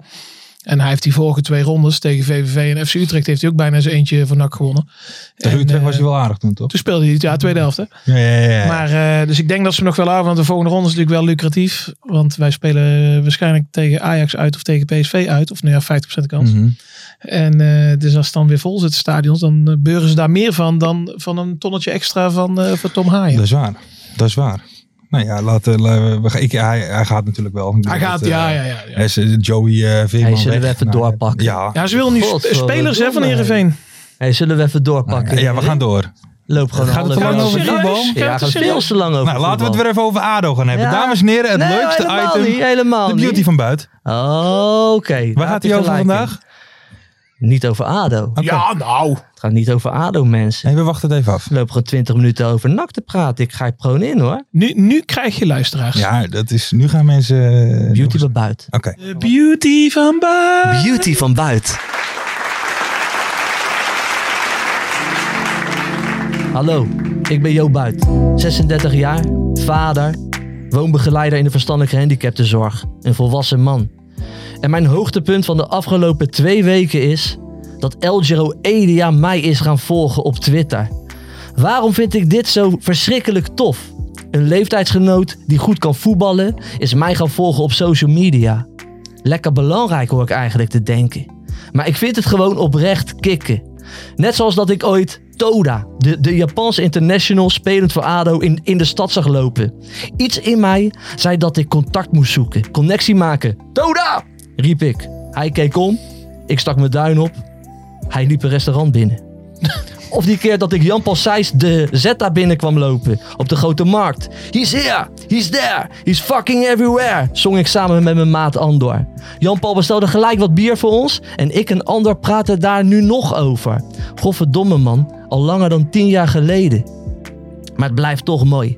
Speaker 3: En hij heeft die vorige twee rondes tegen VVV en FC Utrecht heeft hij ook bijna zijn eentje voor NAC gewonnen.
Speaker 2: Tegen
Speaker 3: En,
Speaker 2: Utrecht
Speaker 3: eh,
Speaker 2: was hij wel aardig toen, toch?
Speaker 3: Toen speelde hij het, ja, tweede helft. Hè?
Speaker 2: Ja, ja, ja, ja.
Speaker 3: Maar, eh, dus ik denk dat ze hem nog wel houden. Want de volgende ronde is natuurlijk wel lucratief. Want wij spelen waarschijnlijk tegen Ajax uit of tegen PSV uit. Of nou ja, 50% kans.
Speaker 2: Mhm.
Speaker 3: En eh, dus als het dan weer vol zit, de stadions, dan eh, beuren ze daar meer van dan van een tonnetje extra van, eh, voor Tom Haaien.
Speaker 2: Dat is waar. Dat is waar. Nou ja, laten we- we. Ik, hij, hij gaat natuurlijk wel. Ik bedoel
Speaker 3: Hij
Speaker 2: dat,
Speaker 3: gaat,
Speaker 2: eh,
Speaker 3: ja, ja, ja. ja.
Speaker 2: hij is, eh, Joey eh Veerman
Speaker 4: Hij zullen we
Speaker 2: weg.
Speaker 4: even
Speaker 2: Nou,
Speaker 4: doorpakken.
Speaker 2: Ja.
Speaker 3: Ja, ze willen nu sp-
Speaker 4: Godverdomme.
Speaker 3: spelers hè, van Heerenveen.
Speaker 4: Hey, zullen we even doorpakken?
Speaker 2: Ja, ja, we gaan door.
Speaker 4: Loop gewoon
Speaker 2: Gaat het
Speaker 4: alle
Speaker 2: te lang
Speaker 4: kanten
Speaker 2: over
Speaker 4: op.
Speaker 2: voetbal?
Speaker 3: Gaat het
Speaker 4: Ja, gaat
Speaker 3: serieus?
Speaker 4: veel te lang over
Speaker 2: Nou, laten we het
Speaker 4: voetbal.
Speaker 2: weer even over ADO gaan hebben.
Speaker 4: Ja.
Speaker 2: Dames en heren, het
Speaker 4: Nee,
Speaker 2: leukste
Speaker 4: helemaal
Speaker 2: item.
Speaker 4: Niet, helemaal
Speaker 2: de beauty
Speaker 4: niet.
Speaker 2: van buiten.
Speaker 4: Oh, Oké.
Speaker 2: Waar
Speaker 4: daar
Speaker 2: gaat
Speaker 4: heb
Speaker 2: hij
Speaker 4: je
Speaker 2: over
Speaker 4: gelijk in.
Speaker 2: vandaag?
Speaker 4: Niet over ADO.
Speaker 2: Oké.
Speaker 3: Ja, nou.
Speaker 4: Het gaat niet over ADO, mensen.
Speaker 2: Nee, we wachten het even af.
Speaker 4: Ik loop gewoon 20 minuten over NAC te praten. Ik ga je proon in, hoor.
Speaker 3: Nu, nu krijg je luisteraars.
Speaker 2: Ja, dat is. Nu gaan mensen. eh,
Speaker 4: Beauty
Speaker 2: nog-
Speaker 4: van buiten.
Speaker 2: Oké.
Speaker 3: De beauty van Baar.
Speaker 4: Beauty van buiten. Hallo, ik ben Jo Buit, 36 jaar, vader, woonbegeleider in de verstandelijke gehandicaptenzorg, een volwassen man. En mijn hoogtepunt van de afgelopen twee weken is dat El Giro Elia mij is gaan volgen op Twitter. Waarom vind ik dit zo verschrikkelijk tof? Een leeftijdsgenoot die goed kan voetballen is mij gaan volgen op social media. Lekker belangrijk hoor ik eigenlijk te denken. Maar ik vind het gewoon oprecht kicken. Net zoals dat ik ooit Toda, de, de Japanse international spelend voor ADO, in, in de stad zag lopen. Iets in mij zei dat ik contact moest zoeken, connectie maken. Toda! riep ik. Hij keek om, ik stak mijn duin op. Hij liep een restaurant binnen. Of die keer dat ik Jan Paul Sijs de Zeta binnen kwam lopen op de grote markt. He's here, he's there, he's fucking everywhere, zong ik samen met mijn maat Andor. Jan Paul bestelde gelijk wat bier voor ons en ik en Andor praten daar nu nog over. Godverdomme man, al langer dan tien jaar geleden. Maar het blijft toch mooi.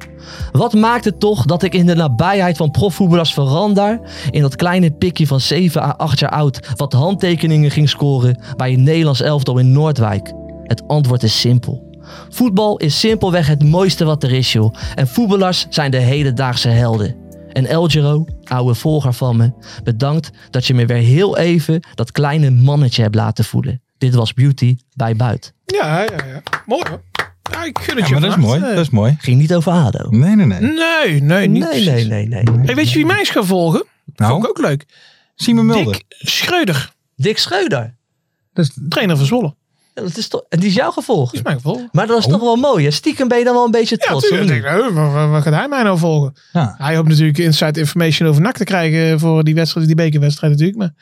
Speaker 4: Wat maakt het toch dat ik in de nabijheid van profvoetballers Verander in dat kleine pikje van 7 à 8 jaar oud wat handtekeningen ging scoren bij een Nederlands elftal in Noordwijk? Het antwoord is simpel. Voetbal is simpelweg het mooiste wat er is, joh. En voetballers zijn de hedendaagse helden. En El Giro, oude volger van me, bedankt dat je me weer heel even dat kleine mannetje hebt laten voelen. Dit was Beauty bij Buit.
Speaker 3: Ja, ja, ja. Mooi hoor. Ja, ik gun het
Speaker 2: Ja, maar dat is
Speaker 3: je van
Speaker 2: mooi.
Speaker 4: eh.
Speaker 3: harte.
Speaker 2: Dat is mooi.
Speaker 4: Ging niet over ADO.
Speaker 2: Nee, nee,
Speaker 4: Hm?
Speaker 2: nee.
Speaker 3: Nee, nee, niet.
Speaker 4: Nee, nee, nee, nee.
Speaker 3: Hey, weet je wie mij is gaan volgen? Vond ik
Speaker 2: Nou,
Speaker 3: ook leuk.
Speaker 2: Simon Mulder.
Speaker 3: Dick Schreuder,
Speaker 4: Dick Schreuder.
Speaker 3: trainer van Zwolle.
Speaker 4: Ja, dat is toch, en die is jouw
Speaker 3: Die
Speaker 4: gevolg.
Speaker 3: is mij gevolgd.
Speaker 4: Maar dat is toch wel mooi. Hè? Stiekem ben je dan wel een beetje
Speaker 3: Ja,
Speaker 4: trots.
Speaker 3: natuurlijk. Ik
Speaker 4: hoor.
Speaker 3: denk, nou, waar, waar- waar gaat hij mij nou volgen?
Speaker 2: Ja.
Speaker 3: Hij hoopt natuurlijk inside information over NAC te krijgen voor die wedstrijd, die bekerwedstrijd natuurlijk. Maar,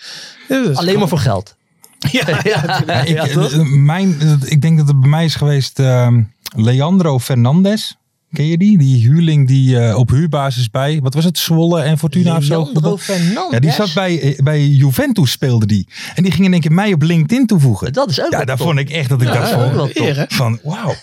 Speaker 3: Ja, dat is
Speaker 4: Alleen
Speaker 3: cool.
Speaker 4: maar voor geld.
Speaker 3: Ja,
Speaker 4: ja,
Speaker 2: Ik,
Speaker 4: ja, toch?
Speaker 2: eh, mijn, eh, ik denk dat het bij mij is geweest ehm, Leandro Fernandez. Ken je die? Die huurling die eh, op huurbasis bij, wat was het, Zwolle en Fortuna of zo?
Speaker 4: Leandro Fernandes.
Speaker 2: Ja, die zat bij, eh, bij Juventus speelde die. En die ging in één keer mij op LinkedIn toevoegen.
Speaker 4: Dat is ook
Speaker 2: ja,
Speaker 4: wel
Speaker 2: daar
Speaker 4: top.
Speaker 2: vond ik echt dat ik
Speaker 4: Ja,
Speaker 2: dacht
Speaker 4: dat is ook
Speaker 2: van, oh,
Speaker 4: wel top.
Speaker 3: Eer, hè?
Speaker 2: van wauw,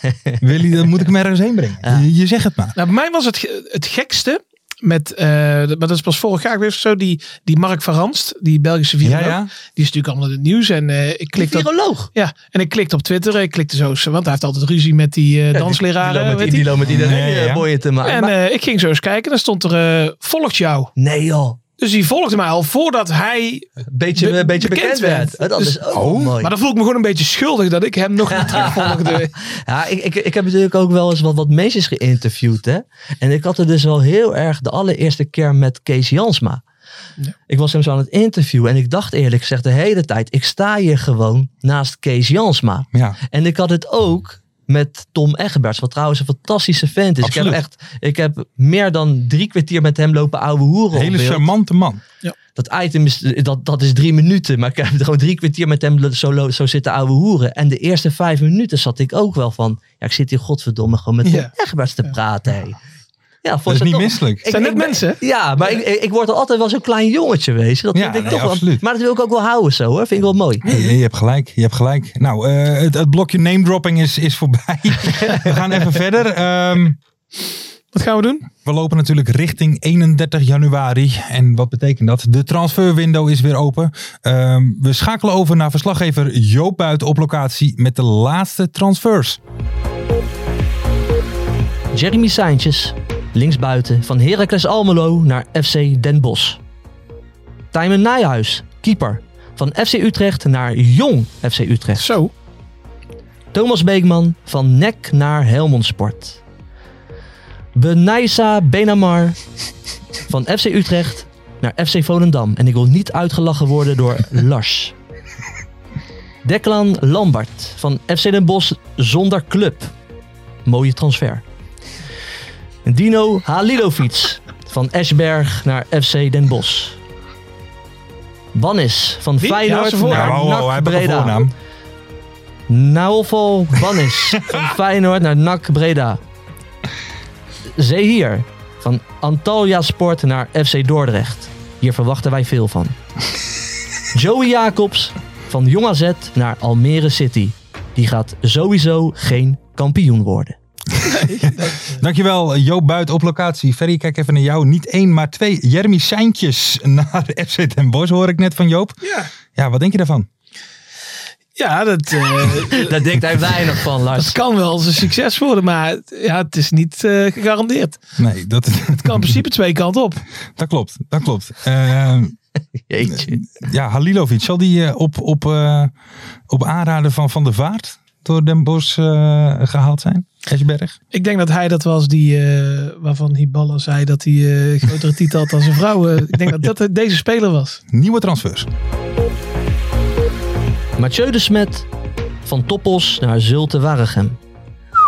Speaker 2: Willy, dan moet ik hem ergens heen brengen. Je, je zegt het maar.
Speaker 3: Nou, bij mij was het, ge- het gekste met, eh, maar dat is pas vorig jaar weer zo, die, die Mark van Ranst, die Belgische viroloog.
Speaker 2: Ja, ja.
Speaker 3: Die is natuurlijk allemaal in het nieuws en eh, ik klikte op,
Speaker 4: Viroloog.
Speaker 3: ja, en ik klikte op Twitter, ik klikte zo, eens, want hij heeft altijd ruzie met die eh dansleraren.
Speaker 4: Die loopt
Speaker 3: weet
Speaker 4: met,
Speaker 3: je.
Speaker 4: die loopt met iedereen
Speaker 2: Nee,
Speaker 4: eh,
Speaker 2: ja.
Speaker 4: boeien te maken.
Speaker 3: en
Speaker 4: Maar-
Speaker 3: eh, ik ging zo eens kijken en dan stond er eh, volgt jou.
Speaker 4: nee joh,
Speaker 3: Dus die volgde mij al voordat hij...
Speaker 4: beetje,
Speaker 3: Be-
Speaker 4: een beetje
Speaker 3: bekend
Speaker 4: bekend,
Speaker 3: werd.
Speaker 4: werd. Oh, dat
Speaker 3: Dus-
Speaker 4: is ook wel mooi.
Speaker 3: Maar dan voel ik me gewoon een beetje schuldig dat ik hem nog niet terugvolgde.
Speaker 4: Ja, ik, ik, ik heb natuurlijk ook wel eens wat, wat mensen geïnterviewd. Hè? En ik had het dus wel heel erg de allereerste keer met Kees Jansma. Ik was hem zo aan het interviewen en ik dacht eerlijk gezegd de hele tijd, ik sta hier gewoon naast Kees Jansma.
Speaker 2: Ja,
Speaker 4: En ik had het ook met Tom Eggeberts, wat trouwens een fantastische vent is. Ik heb,
Speaker 2: Absoluut.
Speaker 4: echt, ik heb meer dan drie kwartier met hem lopen ouwe hoeren. op
Speaker 2: hele
Speaker 4: beeld.
Speaker 2: charmante man.
Speaker 4: Dat item is, eh, dat, dat is drie minuten. Maar ik heb er gewoon drie kwartier met hem zo, lo- zo zitten ouwe hoeren. En de eerste vijf minuten zat ik ook wel van... Ja, ik zit hier godverdomme gewoon met Tom
Speaker 3: Ja.
Speaker 4: Egberts te praten. hé. Ja,
Speaker 2: Dat
Speaker 4: vond
Speaker 2: is
Speaker 4: ik
Speaker 2: niet
Speaker 4: toch-
Speaker 2: misselijk.
Speaker 4: Ik-
Speaker 3: Zijn
Speaker 4: ik
Speaker 3: net
Speaker 4: ben-
Speaker 3: mensen?
Speaker 4: Ja, maar ik, ik word al altijd wel zo'n klein jongetje geweest. Dat
Speaker 2: Ja,
Speaker 4: vind ik
Speaker 2: nee,
Speaker 4: toch wel-
Speaker 2: absoluut.
Speaker 4: Maar dat wil ik ook wel houden zo hoor. Vind ik wel mooi.
Speaker 2: Nee, Je, je hebt gelijk, je hebt gelijk. Nou, eh, het, het blokje name dropping is, is voorbij. we gaan even verder. Ehm,
Speaker 3: Wat gaan we doen?
Speaker 2: we lopen natuurlijk richting 31 januari. En wat betekent dat? De transferwindow is weer open. Ehm, we schakelen over naar verslaggever Joop Buiten op locatie met de laatste transfers.
Speaker 4: Jeremy Seintjes, linksbuiten van Heracles Almelo naar FC Den Bosch. Tijmen Nijhuis, keeper, van FC Utrecht naar Jong FC Utrecht.
Speaker 3: Zo.
Speaker 4: Thomas Beekman van NEC naar Helmond Sport. Benaisa Benamar van FC Utrecht naar FC Volendam. En ik wil niet uitgelachen worden door Lars. Declan Lambert van FC Den Bosch zonder club. Mooie transfer. Dino Halilovic van Esberg naar FC Den Bosch. Bannis van
Speaker 3: Wie? Ja,
Speaker 4: Feyenoord
Speaker 3: zijn voornaam.
Speaker 4: naar
Speaker 2: Nou,
Speaker 4: NAC
Speaker 2: hij heeft een
Speaker 4: Breda.
Speaker 2: voornaam.
Speaker 4: Naufal Bannis van Feyenoord naar NAC Breda. Zeehier van Antalya Sport naar FC Dordrecht. Hier verwachten wij veel van. Joey Jacobs van Jong AZ naar Almere City. Die gaat sowieso geen kampioen worden.
Speaker 2: Dankjewel Joop Buit op locatie. Ferry, kijk even naar jou. Niet één, maar twee Jeremy Seintjes naar FC Den Bosch hoor ik net van Joop.
Speaker 3: Ja.
Speaker 2: Ja, wat denk je daarvan?
Speaker 3: Ja, dat, eh,
Speaker 4: Daar denkt hij weinig van,
Speaker 3: dat
Speaker 4: Lars.
Speaker 3: kan wel eens een succes worden, maar ja, het is niet eh, gegarandeerd. Het
Speaker 2: Nee, dat,
Speaker 3: kan in principe twee kanten op.
Speaker 2: dat klopt. Dat klopt. Ehm,
Speaker 4: Jeetje.
Speaker 2: Ja, Halilovic, zal die eh, op, op, eh, op aanraden van Van der Vaart door Den Bosch eh, gehaald zijn? Esberg?
Speaker 3: Ik denk dat hij dat was die, eh, waarvan Hiballa zei dat hij eh, grotere titel had dan zijn vrouw. Eh, ik denk dat dat het deze speler was.
Speaker 2: Nieuwe transfers.
Speaker 4: Mathieu de Smet van Toppos naar Zulte Waregem.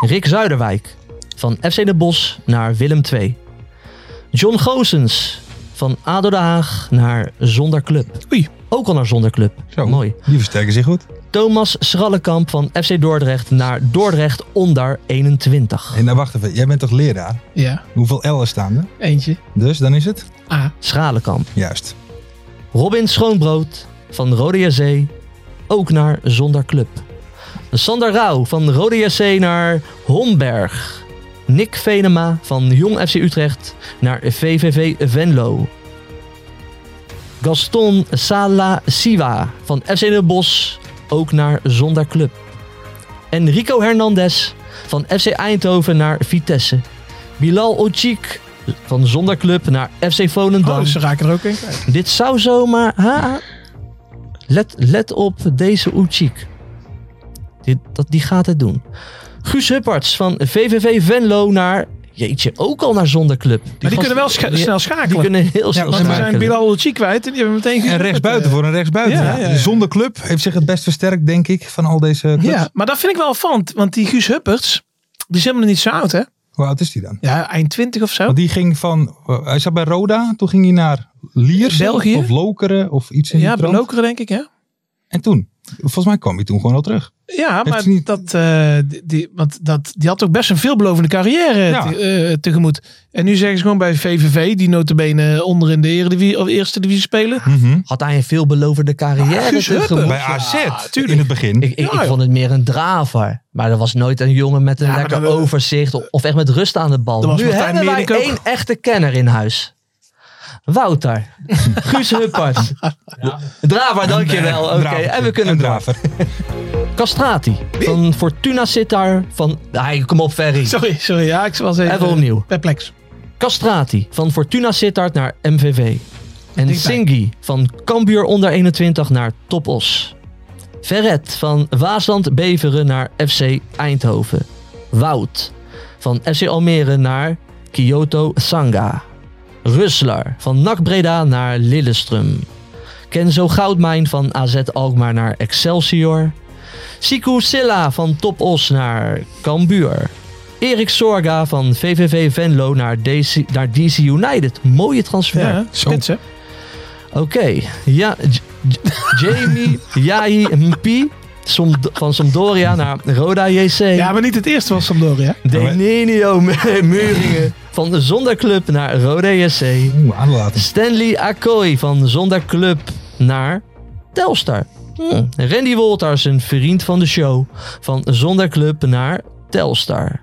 Speaker 4: Rick Zuiderwijk van FC De Bosch naar Willem II. John Goosens van ADO Den Haag naar Zonder Club.
Speaker 3: Oei.
Speaker 4: Ook al naar Zonder Club.
Speaker 2: Zo,
Speaker 4: Mooi.
Speaker 2: Die versterken zich goed.
Speaker 4: Thomas Schrallekamp van FC Dordrecht naar Dordrecht onder 21.
Speaker 2: En nou, wacht even. Jij bent toch leraar?
Speaker 3: Ja,
Speaker 2: Hoeveel L'en staan er?
Speaker 3: eentje.
Speaker 2: Dus dan is het?
Speaker 3: Ah,
Speaker 4: Schrallekamp.
Speaker 2: Juist.
Speaker 4: Robin Schoonbrood van Rode JC ook naar Zonder Club. Sander Rauw van Rode JC naar Homberg. Nick Venema van Jong FC Utrecht naar VVV Venlo. Gaston Sala Siwa van FC Den Bosch ook naar Zonder Club. Enrico Hernandez van FC Eindhoven naar Vitesse. Bilal Ochik van Zonder Club naar FC Volendam.
Speaker 3: oh, dus ze raken er ook in. kwijt.
Speaker 4: Dit zou zomaar. Ha, let, let op deze Oetjik. Dit, dat, die gaat het doen. Guus Hupperts van VVV Venlo naar. Jeetje, ook al naar zonder club.
Speaker 3: Maar die kunnen wel scha- snel schakelen.
Speaker 4: Die kunnen heel snel
Speaker 2: want
Speaker 3: Want we zijn
Speaker 4: schakelen.
Speaker 3: Bilal Olci kwijt en die hebben meteen... eh.
Speaker 2: En
Speaker 3: gehuurd.
Speaker 2: rechtsbuiten voor een rechtsbuiten.
Speaker 3: Ja, ja, ja.
Speaker 2: Zonder club heeft zich het best versterkt, denk ik, van al deze clubs.
Speaker 3: Ja, maar dat vind ik wel opvallend, want die Guus Hupperts, die is helemaal niet zo oud, hè?
Speaker 2: Hoe oud is die dan?
Speaker 3: Ja, eind 20 of zo.
Speaker 2: Want die ging van... eh, hij zat bij Roda, toen ging hij naar Liers.
Speaker 3: België?
Speaker 2: Of Lokeren, of iets in die
Speaker 3: Ja,
Speaker 2: trant.
Speaker 3: Lokeren denk ik, hè?
Speaker 2: En toen? Volgens mij kwam hij toen gewoon al terug.
Speaker 3: Ja, maar
Speaker 2: hij niet-
Speaker 3: dat, eh, die- die, want dat, die had toch best een veelbelovende carrière
Speaker 2: Ja.
Speaker 3: te- eh, tegemoet. En nu zeggen ze gewoon bij VVV, die notabene onder in de eredivisie, of eerste divisie spelen.
Speaker 2: Mhm.
Speaker 4: Had hij een veelbelovende carrière
Speaker 3: Ah, Guus Huppen.
Speaker 4: tegemoet?
Speaker 2: Bij AZ in het begin.
Speaker 4: Ik, ik,
Speaker 3: Ja,
Speaker 4: ik
Speaker 3: joh.
Speaker 4: vond het meer een draver. Maar er was nooit een jongen met een
Speaker 3: maar
Speaker 4: lekker
Speaker 3: dan-
Speaker 4: overzicht. of- Of echt met rust aan de
Speaker 3: Dan
Speaker 4: bal.
Speaker 3: was
Speaker 4: Nu
Speaker 3: Martijn
Speaker 4: hebben wij
Speaker 3: Meerdink ook.
Speaker 4: één echte kenner in huis. Wouter. Guus Huppert. Draver, dankjewel.
Speaker 3: eh,
Speaker 4: Oké,
Speaker 2: Draver.
Speaker 4: en we kunnen
Speaker 2: Een
Speaker 4: door.
Speaker 2: draver.
Speaker 4: Castrati. Van Fortuna Sittard. Van... Hij kom op, Ferry.
Speaker 3: Sorry, sorry. Ja, ik was even,
Speaker 4: Even opnieuw.
Speaker 3: perplex.
Speaker 4: Castrati. Van Fortuna Sittard naar MVV. En Singi. Van Cambuur onder 21 naar Topos. Verret. Van Waasland Beveren naar FC Eindhoven. Wout. Van FC Almere naar Kyoto Sanga. Ruslar. Van NAC Breda naar Lillestrum. Kenzo Goudmijn van AZ Alkmaar naar Excelsior. Siku Silla van Topos naar Cambuur. Erik Sorga van VVV Venlo naar DC, naar DC United. Mooie transfer.
Speaker 3: Ja, spits, hè?
Speaker 4: Oké. Ja, J- J- Jamie Jai Mpi Somd- van Sampdoria naar Roda JC.
Speaker 3: Ja, maar niet het eerste was Sampdoria.
Speaker 4: Denenio M- Meuringen van Zonder Club naar Roda JC.
Speaker 2: Oeh, aanlaten.
Speaker 4: Stanley Akoi van Zonder Club naar Telstar. Hm. Randy Wolters, een vriend van de show, van Zonder Club naar Telstar.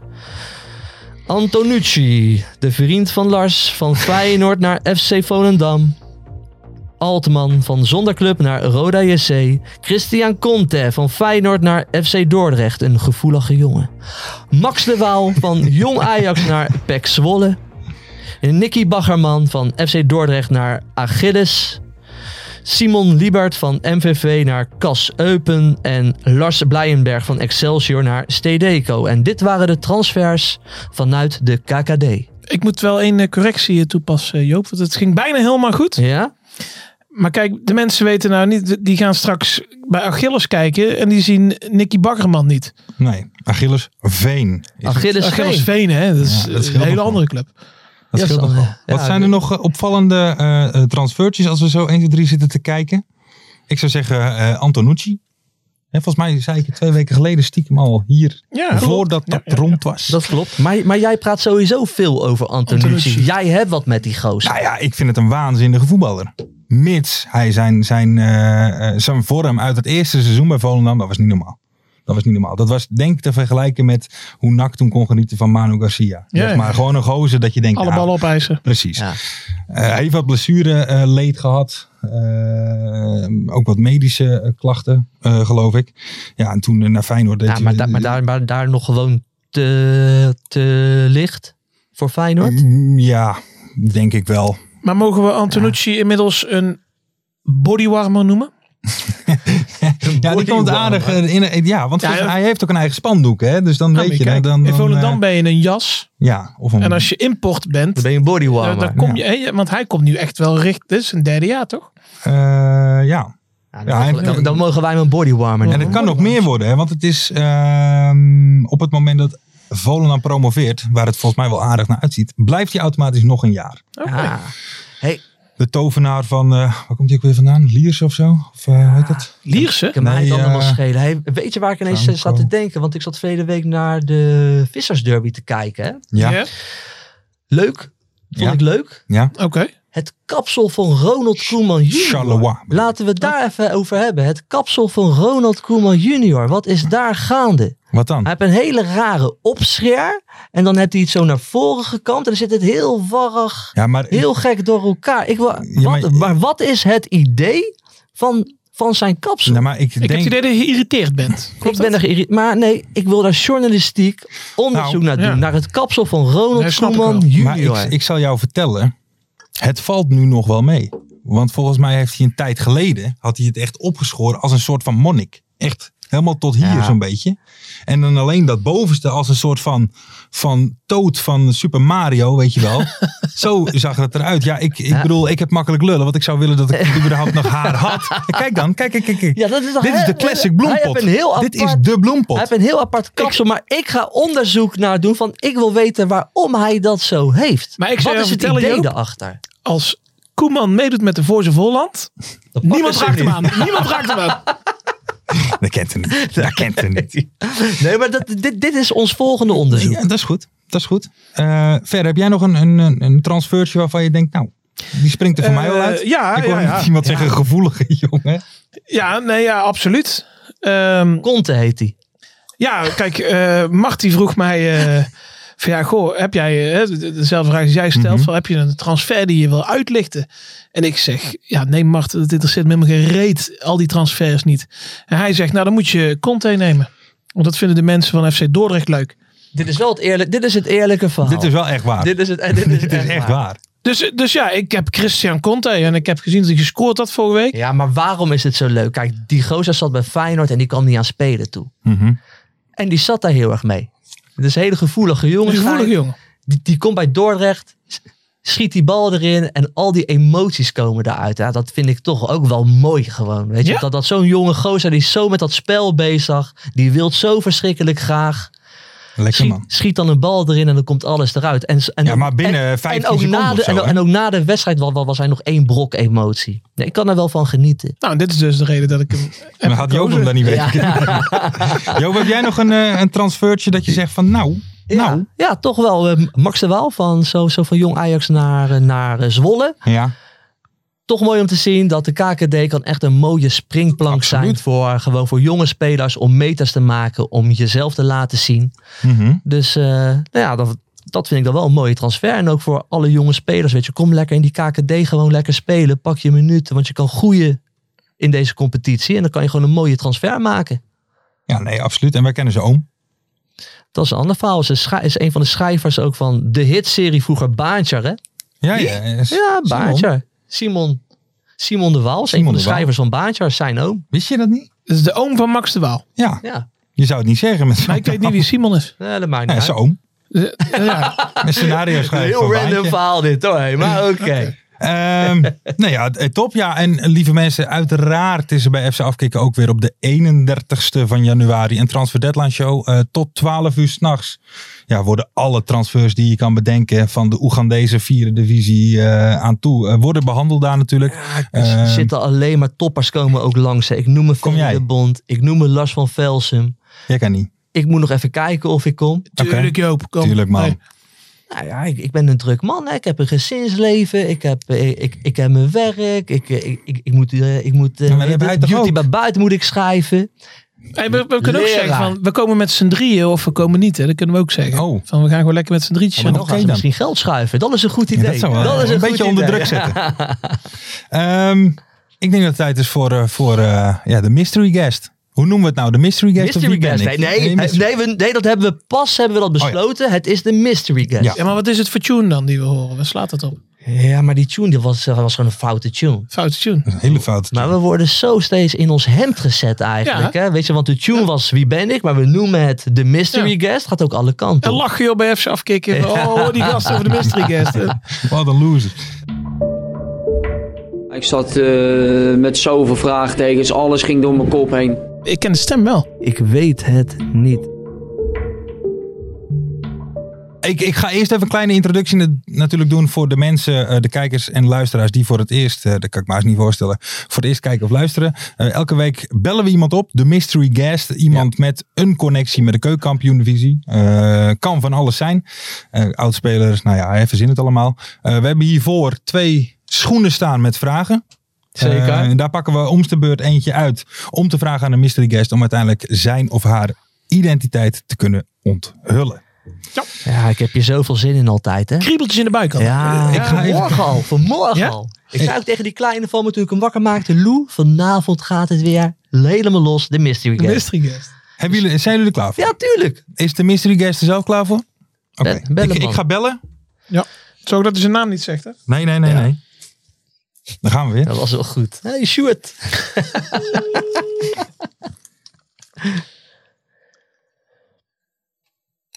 Speaker 4: Antonucci, de vriend van Lars, van Feyenoord naar FC Volendam. Altman van Zonder Club naar Roda JC. Christian Conte van Feyenoord naar FC Dordrecht, een gevoelige jongen. Max de Waal van Jong Ajax naar PEC Zwolle. Nicky Baggerman van FC Dordrecht naar Achilles. Simon Liebert van MVV naar Cas Eupen. En Lars Blijenberg van Excelsior naar Stedeco. En dit waren de transfers vanuit de KKD.
Speaker 3: Ik moet wel één eh, correctie eh, toepassen, Joop. Want het ging bijna helemaal goed.
Speaker 4: Ja?
Speaker 3: Maar kijk, de mensen weten nou niet... Die gaan straks bij Achilles kijken en die zien Nicky Baggerman niet.
Speaker 2: Nee, Achilles Veen. is het.
Speaker 4: Achilles,
Speaker 3: Achilles
Speaker 4: Veen.
Speaker 3: Veen, hè? Dat is,
Speaker 2: Ja, dat is
Speaker 3: een
Speaker 2: heel
Speaker 3: hele
Speaker 2: belangrijk.
Speaker 3: andere club.
Speaker 2: Dat scheelt
Speaker 4: Ja,
Speaker 2: nog wel.
Speaker 4: ja,
Speaker 2: Wat
Speaker 4: ja,
Speaker 2: zijn er nog eh, opvallende eh, eh, transfertjes als we zo 1, 2, 3 zitten te kijken? Ik zou zeggen eh, Antonucci. Hè, volgens mij zei ik het twee weken geleden stiekem al hier.
Speaker 3: Ja,
Speaker 2: voordat
Speaker 3: klopt.
Speaker 2: dat
Speaker 3: Ja, ja,
Speaker 2: rond was.
Speaker 4: Dat klopt. Maar, maar jij praat sowieso veel over Antonucci.
Speaker 3: Antonucci.
Speaker 4: Jij hebt wat met die gozer.
Speaker 2: Nou ja, ik vind het een waanzinnige voetballer. Mits hij zijn, zijn, eh, eh, zijn vorm uit het eerste seizoen bij Volendam, dat was niet normaal. Dat was niet normaal. Dat was denk ik te vergelijken met hoe NAC toen kon genieten van Manu Garcia.
Speaker 3: Ja,
Speaker 2: zeg
Speaker 3: ja.
Speaker 2: maar gewoon een gozer dat je denkt,
Speaker 3: Alle
Speaker 2: nou,
Speaker 3: ballen opeisen.
Speaker 2: Precies.
Speaker 4: Ja.
Speaker 2: Eh, hij heeft wat blessure eh, leed gehad. Eh, ook wat medische eh, klachten, eh, geloof ik. Ja, en toen eh, naar Feyenoord deed
Speaker 4: Ja, maar,
Speaker 2: hij-
Speaker 4: da- maar, daar, maar daar nog gewoon te, te licht voor Feyenoord.
Speaker 2: Mm, Ja, denk ik wel.
Speaker 3: Maar mogen we Antonucci inmiddels een bodywarmer noemen?
Speaker 2: Ja, die komt aardig eh, in. eh, Ja, want
Speaker 3: Ja,
Speaker 2: volgens-
Speaker 3: ja.
Speaker 2: hij heeft ook een eigen spandoek, hè? Dus dan
Speaker 3: Nou,
Speaker 2: weet je.
Speaker 3: maar kijk,
Speaker 2: dan, dan,
Speaker 3: in Volendam
Speaker 2: eh,
Speaker 3: ben je in een jas.
Speaker 2: ja, of een,
Speaker 3: En als je import bent,
Speaker 4: Dan ben je een
Speaker 3: dan,
Speaker 4: bodywarmer.
Speaker 3: dan kom je... hè, want hij komt nu echt wel richt... Dit is een derde jaar, toch?
Speaker 2: eh, ja.
Speaker 4: Ja,
Speaker 2: Ja,
Speaker 4: dan,
Speaker 2: en-
Speaker 4: dan- dan mogen wij hem een bodywarmer
Speaker 2: En het
Speaker 4: noemen.
Speaker 2: kan nog meer worden, hè? Want het is ehm, op het moment dat Volendam promoveert, waar het volgens mij wel aardig naar uitziet, blijft hij automatisch nog een jaar.
Speaker 4: Ja. Hey,
Speaker 2: De tovenaar van, eh, waar komt hij ook weer vandaan? Liers of zo? Of eh, hoe heet het?
Speaker 3: Lierse?
Speaker 4: kan mij
Speaker 2: Nee,
Speaker 4: het allemaal
Speaker 2: eh,
Speaker 4: schelen. Hey, weet je waar ik ineens eh,
Speaker 2: Franco.
Speaker 4: zat te denken? Want ik zat verleden week naar de Vissersderby te kijken. Hè?
Speaker 2: Ja.
Speaker 3: Ja.
Speaker 4: Leuk. Vond
Speaker 2: Ja.
Speaker 4: ik leuk.
Speaker 3: Oké.
Speaker 4: Het kapsel van Ronald Koeman junior.
Speaker 2: Charleroi.
Speaker 4: Laten we het daar even over hebben. Het kapsel van Ronald Koeman junior. Wat is daar gaande?
Speaker 2: Wat dan?
Speaker 4: Hij heeft een hele rare opscher. En dan heeft hij iets zo naar voren gekant. En dan zit het heel warrig.
Speaker 2: Ja, maar
Speaker 4: Heel gek door elkaar. Ik, wil-
Speaker 2: Ja, maar-
Speaker 4: wat, maar wat is het idee van, van zijn kapsel?
Speaker 2: nou, maar ik
Speaker 3: Ik heb
Speaker 2: denk...
Speaker 3: het idee dat je geïrriteerd bent.
Speaker 4: ik ben er geïrriteerd. Maar nee, ik wil daar journalistiek onderzoek
Speaker 2: Nou,
Speaker 4: naar doen.
Speaker 3: ja.
Speaker 4: Naar het kapsel van Ronald
Speaker 3: Nee, snap ik
Speaker 4: Koeman
Speaker 3: wel.
Speaker 2: Maar
Speaker 4: junior.
Speaker 2: ik, ik zal jou vertellen, het valt nu nog wel mee. Want volgens mij heeft hij een tijd geleden, had hij het echt opgeschoren als een soort van monnik. Echt helemaal tot hier
Speaker 4: Ja.
Speaker 2: zo'n beetje. En dan alleen dat bovenste als een soort van, van toot van Super Mario, weet je wel. Zo zag het eruit. Ja, ik, ik
Speaker 4: Ja.
Speaker 2: bedoel, ik heb makkelijk lullen, want ik zou willen dat ik überhaupt nog haar had. Kijk dan, kijk, kijk, kijk. kijk.
Speaker 4: ja, dat is toch
Speaker 2: Dit is
Speaker 4: heel-
Speaker 2: de classic
Speaker 4: Hij heeft
Speaker 2: bloempot.
Speaker 4: een heel apart,
Speaker 2: Dit is de
Speaker 4: hij
Speaker 2: bloempot.
Speaker 4: heeft een heel apart kapsel. maar ik ga onderzoek naar doen. Van, ik wil weten waarom hij dat zo heeft.
Speaker 3: Maar ik zou
Speaker 4: Wat
Speaker 3: jou
Speaker 4: is het
Speaker 3: vertellen,
Speaker 4: idee
Speaker 3: Joop,
Speaker 4: daarachter?
Speaker 3: Als Koeman meedoet met de Voorze Volland,
Speaker 2: Oh,
Speaker 4: Dat pakken
Speaker 3: niemand
Speaker 4: ze
Speaker 3: raakt hem
Speaker 4: niet.
Speaker 3: aan. Niemand raakt hem aan.
Speaker 2: Dat kent hij niet. Dat kent hij niet.
Speaker 4: Nee, maar dat, dit, dit is ons volgende onderzoek.
Speaker 2: Ja, dat is goed. Dat is goed. Eh Ver, heb jij nog een, een- een, een transfertje waarvan je denkt, nou, die springt er voor mij wel
Speaker 3: Eh,
Speaker 2: uit?
Speaker 3: ja,
Speaker 2: Ik hoor
Speaker 3: ja, ja.
Speaker 2: iemand zeggen, gevoelige jongen.
Speaker 3: Ja, nee, ja, absoluut. Ehm,
Speaker 4: Conte heet hij.
Speaker 3: ja, kijk, eh Mart die vroeg mij eh, van ja, goh, heb jij eh, de- de- dezelfde vraag als jij stelt,
Speaker 2: Mhm.
Speaker 3: van, heb je een transfer die je wil uitlichten? En ik zeg, ja, nee Mart, dat interesseert me helemaal geen reet, al die transfers niet. En hij zegt, nou dan moet je Conte nemen. Want dat vinden de mensen van FC Dordrecht leuk.
Speaker 4: Dit is wel het eerlijke, dit is het eerlijke verhaal.
Speaker 2: Dit is wel echt waar. Nou. Dit,
Speaker 4: dit is, het, eh, dit is,
Speaker 2: is echt waar.
Speaker 3: Dus, dus ja, ik heb Christian Conte en ik heb gezien dat hij gescoord had vorige week.
Speaker 4: Ja, maar waarom is het zo leuk? Kijk, die gozer zat bij Feyenoord en die kwam niet aan spelen toe.
Speaker 2: Mhm.
Speaker 4: En die zat daar heel erg mee. Dat is een hele gevoelige jongen.
Speaker 3: Een gevoelige jongen.
Speaker 4: Die, die komt bij Dordrecht, s- schiet die bal erin en al die emoties komen daaruit. Ja, dat vind ik toch ook wel mooi gewoon. Weet je?
Speaker 3: Ja.
Speaker 4: Dat, dat zo'n jonge gozer die is zo met dat spel bezig, die wil zo verschrikkelijk graag.
Speaker 2: Lekker
Speaker 4: Schiet,
Speaker 2: man.
Speaker 4: schiet dan een bal erin en dan komt alles eruit. En, s- en,
Speaker 2: Ja, maar binnen
Speaker 4: en-
Speaker 2: 15
Speaker 4: en ook
Speaker 2: seconden
Speaker 4: na de,
Speaker 2: of zo,
Speaker 4: en,
Speaker 2: hè?
Speaker 4: en ook na de wedstrijd was, was hij nog één brok emotie. Nee, ik kan er wel van genieten.
Speaker 3: Nou, dit is dus de reden dat ik hem heb
Speaker 2: Dan had Joop hem
Speaker 3: gekozen.
Speaker 2: dan niet weten.
Speaker 4: Ja.
Speaker 2: Joop, heb jij nog een, eh, een transfertje dat je zegt van, nou, nou.
Speaker 4: Ja, ja, toch wel. eh, Max de Waal van, zo, zo van jong Ajax naar, eh, naar eh, Zwolle.
Speaker 2: Ja,
Speaker 4: Toch mooi om te zien dat de KKD kan echt een mooie springplank zijn
Speaker 2: Absoluut.
Speaker 4: voor, gewoon voor jonge spelers om meters te maken, om jezelf te laten zien.
Speaker 2: Mhm.
Speaker 4: Dus eh, nou ja, dat, dat vind ik dan wel een mooie transfer. En ook voor alle jonge spelers, weet je, kom lekker in die KKD gewoon lekker spelen. Pak je minuten, want je kan groeien in deze competitie. En dan kan je gewoon een mooie transfer maken.
Speaker 2: ja nee, absoluut. En wij kennen ze oom.
Speaker 4: Dat is een ander verhaal. Ze scha- is een van de schrijvers ook van de hitserie vroeger Baantjar, hè?
Speaker 2: Ja, ja. is-
Speaker 4: Ja,
Speaker 2: Simon.
Speaker 4: Baantjar. Simon. Simon de Waal is een
Speaker 2: Simon
Speaker 4: van de
Speaker 2: de Waal.
Speaker 4: schrijvers van Baantjar, zijn oom.
Speaker 2: Wist je dat niet?
Speaker 3: Dit is de oom van Max de Waal.
Speaker 2: Ja,
Speaker 4: Ja,
Speaker 2: je zou het niet zeggen. Met
Speaker 3: Maar ik weet niet wie Simon is.
Speaker 4: nee, Eh, dat maakt niet
Speaker 2: Ja,
Speaker 4: uit.
Speaker 2: zijn oom.
Speaker 3: Ja,
Speaker 2: Een scenario
Speaker 4: Een
Speaker 2: schrijven
Speaker 4: heel
Speaker 2: van
Speaker 4: random
Speaker 2: Baantje.
Speaker 4: verhaal dit hoor, hé, maar oké.
Speaker 2: Ehm nou ja, eh, top. Ja, en eh, lieve mensen, uiteraard is er bij FC Afkikken ook weer op de 31ste van januari een transfer deadline show. Eh, tot 12 uur s'nachts ja, worden alle transfers die je kan bedenken van de Oegandese vierde divisie eh, aan toe, eh, worden behandeld daar natuurlijk.
Speaker 4: Er
Speaker 2: Ehm,
Speaker 4: zitten alleen maar toppers komen ook langs. hè. Ik noem me
Speaker 2: Kom
Speaker 4: Ferry
Speaker 2: jij?
Speaker 4: de Bond, ik noem me Lars van Velsum.
Speaker 2: jij kan niet.
Speaker 4: Ik moet nog even kijken of ik kom.
Speaker 3: tuurlijk Joop. Kom.
Speaker 2: Tuurlijk man.
Speaker 3: Nee.
Speaker 4: Nou ja, ik, ik ben een druk man. Hè. Ik heb een gezinsleven. Ik heb, eh, ik, ik heb mijn werk. Ik, eh, ik, ik, ik moet, eh, ik moet eh,
Speaker 2: Ja, maar dat heb jij toch
Speaker 4: beauty
Speaker 2: ook?
Speaker 4: bij buiten moet ik schrijven.
Speaker 3: Hey, we, we kunnen ook
Speaker 4: Leraar.
Speaker 3: zeggen van, we komen met z'n drieën of we komen niet. Hè. Dat kunnen we ook zeggen.
Speaker 2: Oh.
Speaker 3: Van, we gaan gewoon lekker met z'n drietjes.
Speaker 4: Maar
Speaker 2: Oh,
Speaker 4: dan
Speaker 2: oké
Speaker 4: gaan ze
Speaker 2: dan.
Speaker 4: misschien geld schuiven. Dat is een goed idee.
Speaker 2: Ja, dat zou wel
Speaker 4: is
Speaker 2: een,
Speaker 4: goed
Speaker 2: beetje onder
Speaker 4: idee.
Speaker 2: druk zetten. Ehm, ik denk dat het tijd is voor, eh, voor eh, ja, de mystery guest. Hoe noemen we het nou? De mystery guest? of
Speaker 4: Mystery
Speaker 2: wie ben
Speaker 4: guest.
Speaker 2: ik?
Speaker 4: Nee, nee,
Speaker 2: mystery- Oh
Speaker 4: nee, we, nee, dat hebben we pas hebben we dat
Speaker 2: ja.
Speaker 4: besloten. Het is de mystery guest.
Speaker 2: Ja.
Speaker 3: Ja, maar wat is het voor tune dan die we horen? Waar slaat dat op?
Speaker 4: Ja, maar die tune die was, eh, was gewoon een foute tune.
Speaker 3: Foute tune.
Speaker 2: Een hele fout.
Speaker 4: Maar we worden zo steeds in ons hemd gezet eigenlijk.
Speaker 3: Ja.
Speaker 4: Hè? Weet je, want de tune was Wie ben ik? Maar we noemen het de mystery guest. Gaat ook alle kanten
Speaker 3: En
Speaker 4: op.
Speaker 3: lachen joh bij FC afkicken. Oh, die gast over de mystery guest.
Speaker 2: Wat een loser.
Speaker 5: Ik zat eh, met zoveel vraagtekens, alles ging door mijn kop heen.
Speaker 3: Ik ken de stem wel.
Speaker 4: Ik weet het niet.
Speaker 2: Ik, ik ga eerst even een kleine introductie na- natuurlijk doen voor de mensen, eh, de kijkers en luisteraars die voor het eerst, eh dat kan ik me haast niet voorstellen, voor het eerst kijken of luisteren. Eh, elke week bellen we iemand op, de mystery guest, iemand met een connectie met de keukenkampioen-divisie. Eh, kan van alles zijn. Eh oudspelers, nou ja, hij verzin het allemaal. Eh, we hebben hiervoor twee schoenen staan met vragen.
Speaker 3: Zeker.
Speaker 2: Eh, daar pakken we omste beurt eentje uit om te vragen aan de mystery guest om uiteindelijk zijn of haar identiteit te kunnen onthullen.
Speaker 4: Ja, ik heb hier zoveel zin in altijd, hè?
Speaker 3: Kriebeltjes in de buik al.
Speaker 4: Ja,
Speaker 2: ik ga even-
Speaker 4: vanmorgen al. Vanmorgen
Speaker 3: Ja?
Speaker 4: al. Ik zei ook tegen die kleine van me toen ik hem wakker maakte. Lou, vanavond gaat het weer helemaal los. De mystery
Speaker 3: De
Speaker 4: guest.
Speaker 3: mystery guest.
Speaker 2: Hebben jullie, zijn jullie er klaar voor?
Speaker 4: Ja, tuurlijk.
Speaker 2: Is de mystery guest er zelf klaar voor? Oké,
Speaker 4: Be- bellen,
Speaker 2: ik, ik
Speaker 4: man.
Speaker 2: ga bellen.
Speaker 3: Zo dat hij zijn naam niet zegt hè?
Speaker 2: Nee, nee, nee, nee. Dan gaan we weer.
Speaker 4: Dat was wel goed. Hé, hey, Sjoerd.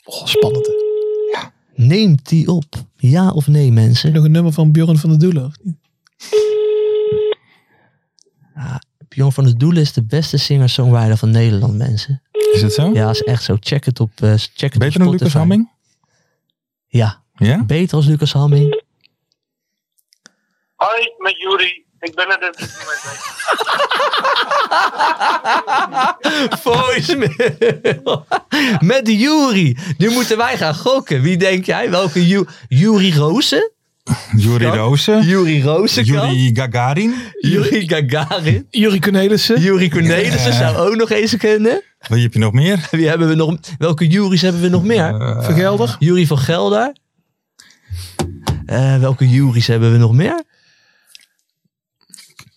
Speaker 3: Oh, spannend hè.
Speaker 4: Neemt die op? Ja of nee, mensen?
Speaker 3: Nog een nummer van Björn van der Doelen. of niet?
Speaker 4: Bjorn van der Doelen is de beste singer-songwriter van Nederland, mensen.
Speaker 2: Is het zo?
Speaker 4: Ja, is echt zo. Check het op, eh check het op
Speaker 2: Beter dan Lucas
Speaker 4: Spotify.
Speaker 2: Hamming?
Speaker 4: Ja,
Speaker 2: Ja?
Speaker 4: beter als Lucas Hamming.
Speaker 6: Hoi, met Juri. Ik ben er op dit moment mee.
Speaker 4: Voicemail. Met de Jury. Nu moeten wij gaan gokken. Wie denk jij? Welke Ju Jury Rozen?
Speaker 2: Jury
Speaker 4: Ja.
Speaker 2: Rozen.
Speaker 4: Jury Rozen kan?
Speaker 2: Yuri Gagarin.
Speaker 4: Jury Gagarin.
Speaker 3: Jurie Cornelissen.
Speaker 4: Jury Cornelissen zou ook nog eens kennen.
Speaker 2: Wat heb je nog meer?
Speaker 4: Wie hebben we nog? Welke Juries hebben we nog meer?
Speaker 2: Eh,
Speaker 3: Vergelder.
Speaker 4: Jury van Gelder. Eh, welke Juries hebben we nog meer?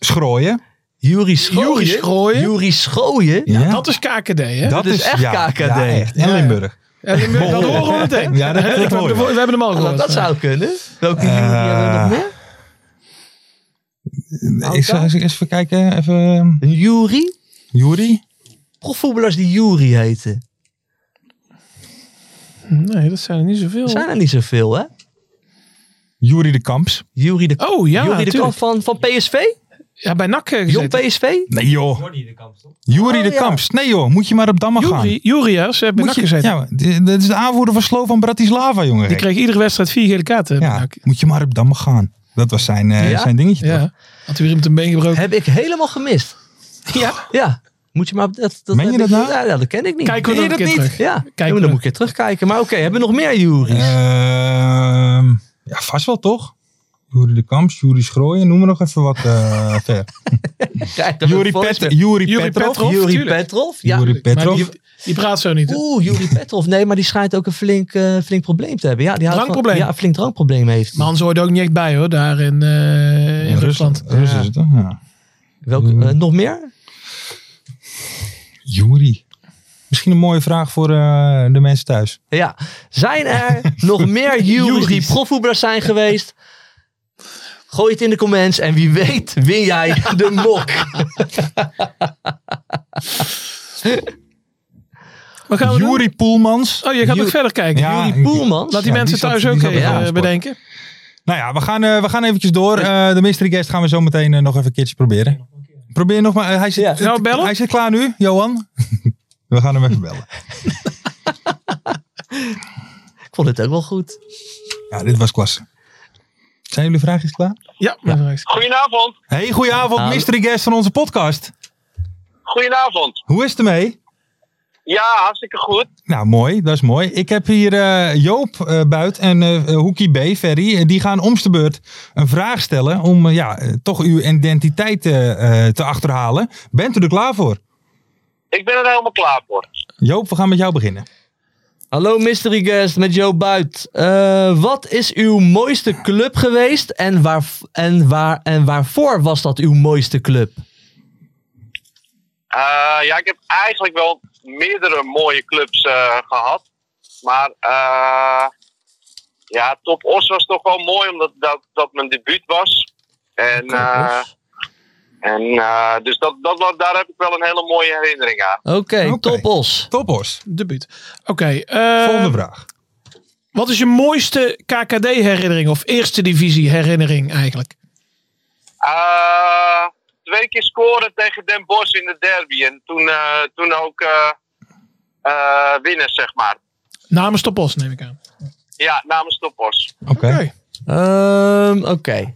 Speaker 2: Schrooien.
Speaker 4: Jury Schooien.
Speaker 3: Jurie Schrooien.
Speaker 4: Jury Schooien.
Speaker 2: Ja,
Speaker 3: Dat is KKD, hè?
Speaker 4: dat is echt KKD.
Speaker 2: Ja, echt. En
Speaker 3: Ja.
Speaker 2: Limburg.
Speaker 3: En dan- dat horen we meteen.
Speaker 2: Ja, dat- dat
Speaker 3: we,
Speaker 2: hoor je.
Speaker 3: hebben- we hebben hem al
Speaker 4: Nou,
Speaker 3: gehoord.
Speaker 4: dat zou kunnen. Welke Jury
Speaker 2: Eh,
Speaker 4: hebben we nog meer?
Speaker 2: Ik zal eens even kijken. Even. ehm,
Speaker 4: Een Jury?
Speaker 2: Jury.
Speaker 4: Profvoetballers die Jury heten.
Speaker 3: Nee, dat zijn er niet zoveel.
Speaker 4: Er zijn er niet zoveel, hè?
Speaker 2: Jury de Kamps.
Speaker 4: Jury de,
Speaker 3: Oh ja,
Speaker 4: Jury de
Speaker 3: natuurlijk.
Speaker 4: Kamp van, van PSV?
Speaker 3: Ja, bij NAC eh,
Speaker 4: Jong
Speaker 3: gezeten.
Speaker 4: PSV?
Speaker 2: Nee joh. Jury de
Speaker 4: Oh, ja.
Speaker 2: Kamps. Nee joh. Moet je maar op Damme gaan.
Speaker 3: Jurie, Jurie, ja, ze hebben bij
Speaker 2: Moet
Speaker 3: NAC
Speaker 2: je,
Speaker 3: gezeten.
Speaker 2: ja, d- dat is de aanvoerder van Slovan van Bratislava, jongen.
Speaker 3: Die kreeg iedere wedstrijd vier gele kaarten. bij
Speaker 2: ja,
Speaker 3: NAC.
Speaker 2: moet je maar op Damme gaan. Dat was zijn, eh,
Speaker 4: Ja?
Speaker 2: zijn dingetje. toch?
Speaker 3: ja. Had weer iemand een been gebroken.
Speaker 4: Heb ik helemaal gemist.
Speaker 3: Ja.
Speaker 4: Ja. Moet je maar... op- Dat, dat
Speaker 2: Meen je
Speaker 4: heb
Speaker 2: dat
Speaker 4: ik-
Speaker 2: nou?
Speaker 4: Ja, ja, dat ken ik niet.
Speaker 3: Kijken we
Speaker 4: Ken je
Speaker 3: nog een
Speaker 4: dat
Speaker 3: keer
Speaker 4: niet?
Speaker 3: terug.
Speaker 4: Ja.
Speaker 3: we
Speaker 4: Oh, dan
Speaker 3: nog.
Speaker 4: moet ik weer terugkijken. Maar oké, hebben we nog meer Juries?
Speaker 2: Eh, Ehm, ja, vast wel toch? Jury de Kamps, Jury Schrooien, noem maar nog even wat eh, ver.
Speaker 4: Kijk, dat
Speaker 2: Jury,
Speaker 4: het
Speaker 2: Pet,
Speaker 4: voorstel-
Speaker 2: Juri
Speaker 3: Juri
Speaker 2: Petrov.
Speaker 3: Petrov.
Speaker 4: Jury
Speaker 3: tuurlijk.
Speaker 4: Petrov. Ja.
Speaker 2: Juri Petrov.
Speaker 3: Maar die, die praat zo niet. hè?
Speaker 4: Oeh, Jury Petrov. Nee, maar die schijnt ook een flink, eh, flink probleem te hebben. Ja, die houdt van-
Speaker 3: Drankprobleem.
Speaker 4: ja, een flink drankprobleem heeft.
Speaker 3: Maar Hans hoorde ook niet echt bij hoor, daar in, eh, in
Speaker 2: Ja,
Speaker 3: Rusland.
Speaker 2: Rus is het, hè? Ja.
Speaker 4: Welke, eh, nog meer?
Speaker 2: Juri. Misschien een mooie vraag voor eh, de mensen thuis.
Speaker 4: Ja. Zijn er nog meer Juries die
Speaker 3: Juries.
Speaker 4: profvoetballers zijn geweest? Gooi het in de comments en wie weet win jij de mok.
Speaker 3: Wat gaan we doen?
Speaker 2: Juri Poelmans.
Speaker 3: Oh, je gaat nog
Speaker 4: Jurie-
Speaker 3: verder kijken.
Speaker 2: Ja,
Speaker 3: Jurie-
Speaker 2: ik-
Speaker 4: Poelmans.
Speaker 3: Laat die
Speaker 2: Ja,
Speaker 3: mensen
Speaker 2: die
Speaker 3: thuis
Speaker 2: zat-
Speaker 3: ook
Speaker 2: die zat
Speaker 3: even
Speaker 2: op de
Speaker 3: eh, bedenken.
Speaker 2: Nou ja, we gaan, eh, we gaan eventjes door. Eh, de mystery guest gaan we zo meteen eh, nog even een keertje proberen. Probeer nog maar. eh, hij, zit,
Speaker 4: Ja.
Speaker 3: Nou, bellen?
Speaker 2: hij zit klaar nu, Johan. we gaan hem even bellen.
Speaker 4: Ik vond het ook wel goed.
Speaker 2: Ja, dit was klasse. Zijn jullie vraagjes klaar?
Speaker 3: Ja, maar straks.
Speaker 6: Goedenavond.
Speaker 2: Hey, goedenavond,
Speaker 4: Hallo.
Speaker 2: mystery guest van onze podcast.
Speaker 6: Goedenavond.
Speaker 2: Hoe is het ermee?
Speaker 6: Ja, hartstikke goed.
Speaker 2: Nou, mooi. Dat is mooi. Ik heb hier eh, Joop eh, Buit en eh Hoekie B, Ferry. eh, die gaan omste beurt een vraag stellen om eh, ja, eh, toch uw identiteit eh, eh, te achterhalen. Bent u er klaar voor?
Speaker 6: Ik ben er helemaal klaar voor.
Speaker 2: Joop, we gaan met jou beginnen.
Speaker 4: Hallo mystery guest met Joe Buit. Eh, wat is uw mooiste club geweest en, waar, en, waar, en waarvoor was dat uw mooiste club?
Speaker 6: Eh, ja, ik heb eigenlijk wel meerdere mooie clubs eh, gehad. Maar eh, ja, Top Os was toch wel mooi, omdat dat, dat mijn debuut was. En, eh, en eh, dus dat, dat, wa- daar heb ik wel een hele mooie herinnering aan.
Speaker 4: Oké,
Speaker 2: Oké.
Speaker 4: toppos.
Speaker 2: Toppos,
Speaker 3: Debuut. Oké. eh,
Speaker 2: volgende vraag.
Speaker 3: wat is je mooiste KKD-herinnering of eerste divisie-herinnering eigenlijk?
Speaker 6: Eh, twee keer scoren tegen Den Bosch in de derby. En toen, eh, toen ook eh, eh, winnen, zeg maar.
Speaker 3: Namens Topos neem ik aan.
Speaker 6: Ja, namens Top Os.
Speaker 2: Oké.
Speaker 4: Ehm, Oké.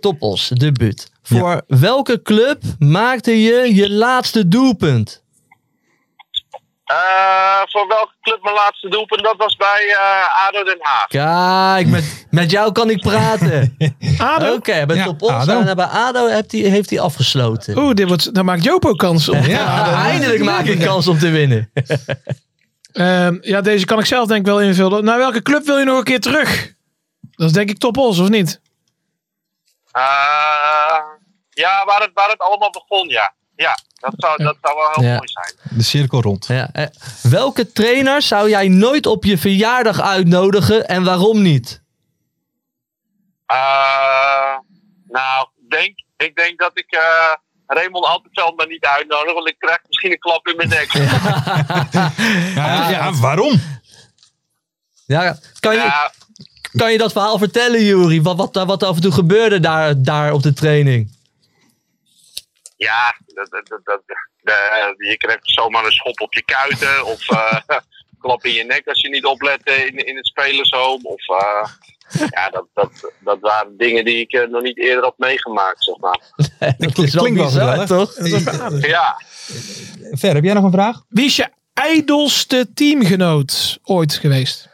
Speaker 4: Toppos, debuut. Voor welke club maakte je je laatste doelpunt?
Speaker 6: Eh, voor welke club mijn laatste doelpunt? Dat was bij eh ADO Den Haag.
Speaker 4: Kijk, met, met jou kan ik praten. Oké,
Speaker 3: ADO?
Speaker 4: bij
Speaker 2: Ja,
Speaker 4: Topos
Speaker 2: ADO.
Speaker 4: en bij ADO heeft hij heeft hij afgesloten.
Speaker 3: Oeh, dit wordt, dan maakt Joop ook kans op.
Speaker 4: Ja, eindelijk maak ik kans om te winnen.
Speaker 3: Ehm, ja, deze kan ik zelf denk ik wel invullen. Naar welke club wil je nog een keer terug? Dat is denk ik Top Os, of niet?
Speaker 6: Eh, ja, waar het, waar het allemaal begon, ja. Ja, dat zou, dat zou wel heel
Speaker 4: Ja.
Speaker 6: mooi zijn.
Speaker 2: De cirkel rond.
Speaker 4: Ja, eh, welke trainer zou jij nooit op je verjaardag uitnodigen en waarom niet?
Speaker 6: Eh, nou, ik denk, ik denk dat ik eh Raymond Altenveld maar niet uitnodig, want ik krijg misschien een klap in mijn nek.
Speaker 4: Ah,
Speaker 2: Ja, ja, waarom?
Speaker 4: Ja, kan, je,
Speaker 6: Ja,
Speaker 4: kan je dat verhaal vertellen, Jury? Wat, wat, daar- wat af en toe gebeurde daar, daar op de training?
Speaker 6: ja dat, dat, dat, dat- eh, je krijgt zomaar een schop op je kuiten of eh klap in je nek als je niet oplet eh, in, in het spelershome. Of eh, ja, dat, dat, dat waren dingen die ik eh, nog niet eerder had meegemaakt, zeg maar.
Speaker 4: Dat is wel
Speaker 2: klinkt wel
Speaker 4: bizar,
Speaker 2: gezellig.
Speaker 4: toch?
Speaker 6: Ja,
Speaker 2: Ver, heb jij nog een vraag?
Speaker 3: Wie is je ijdelste teamgenoot ooit geweest?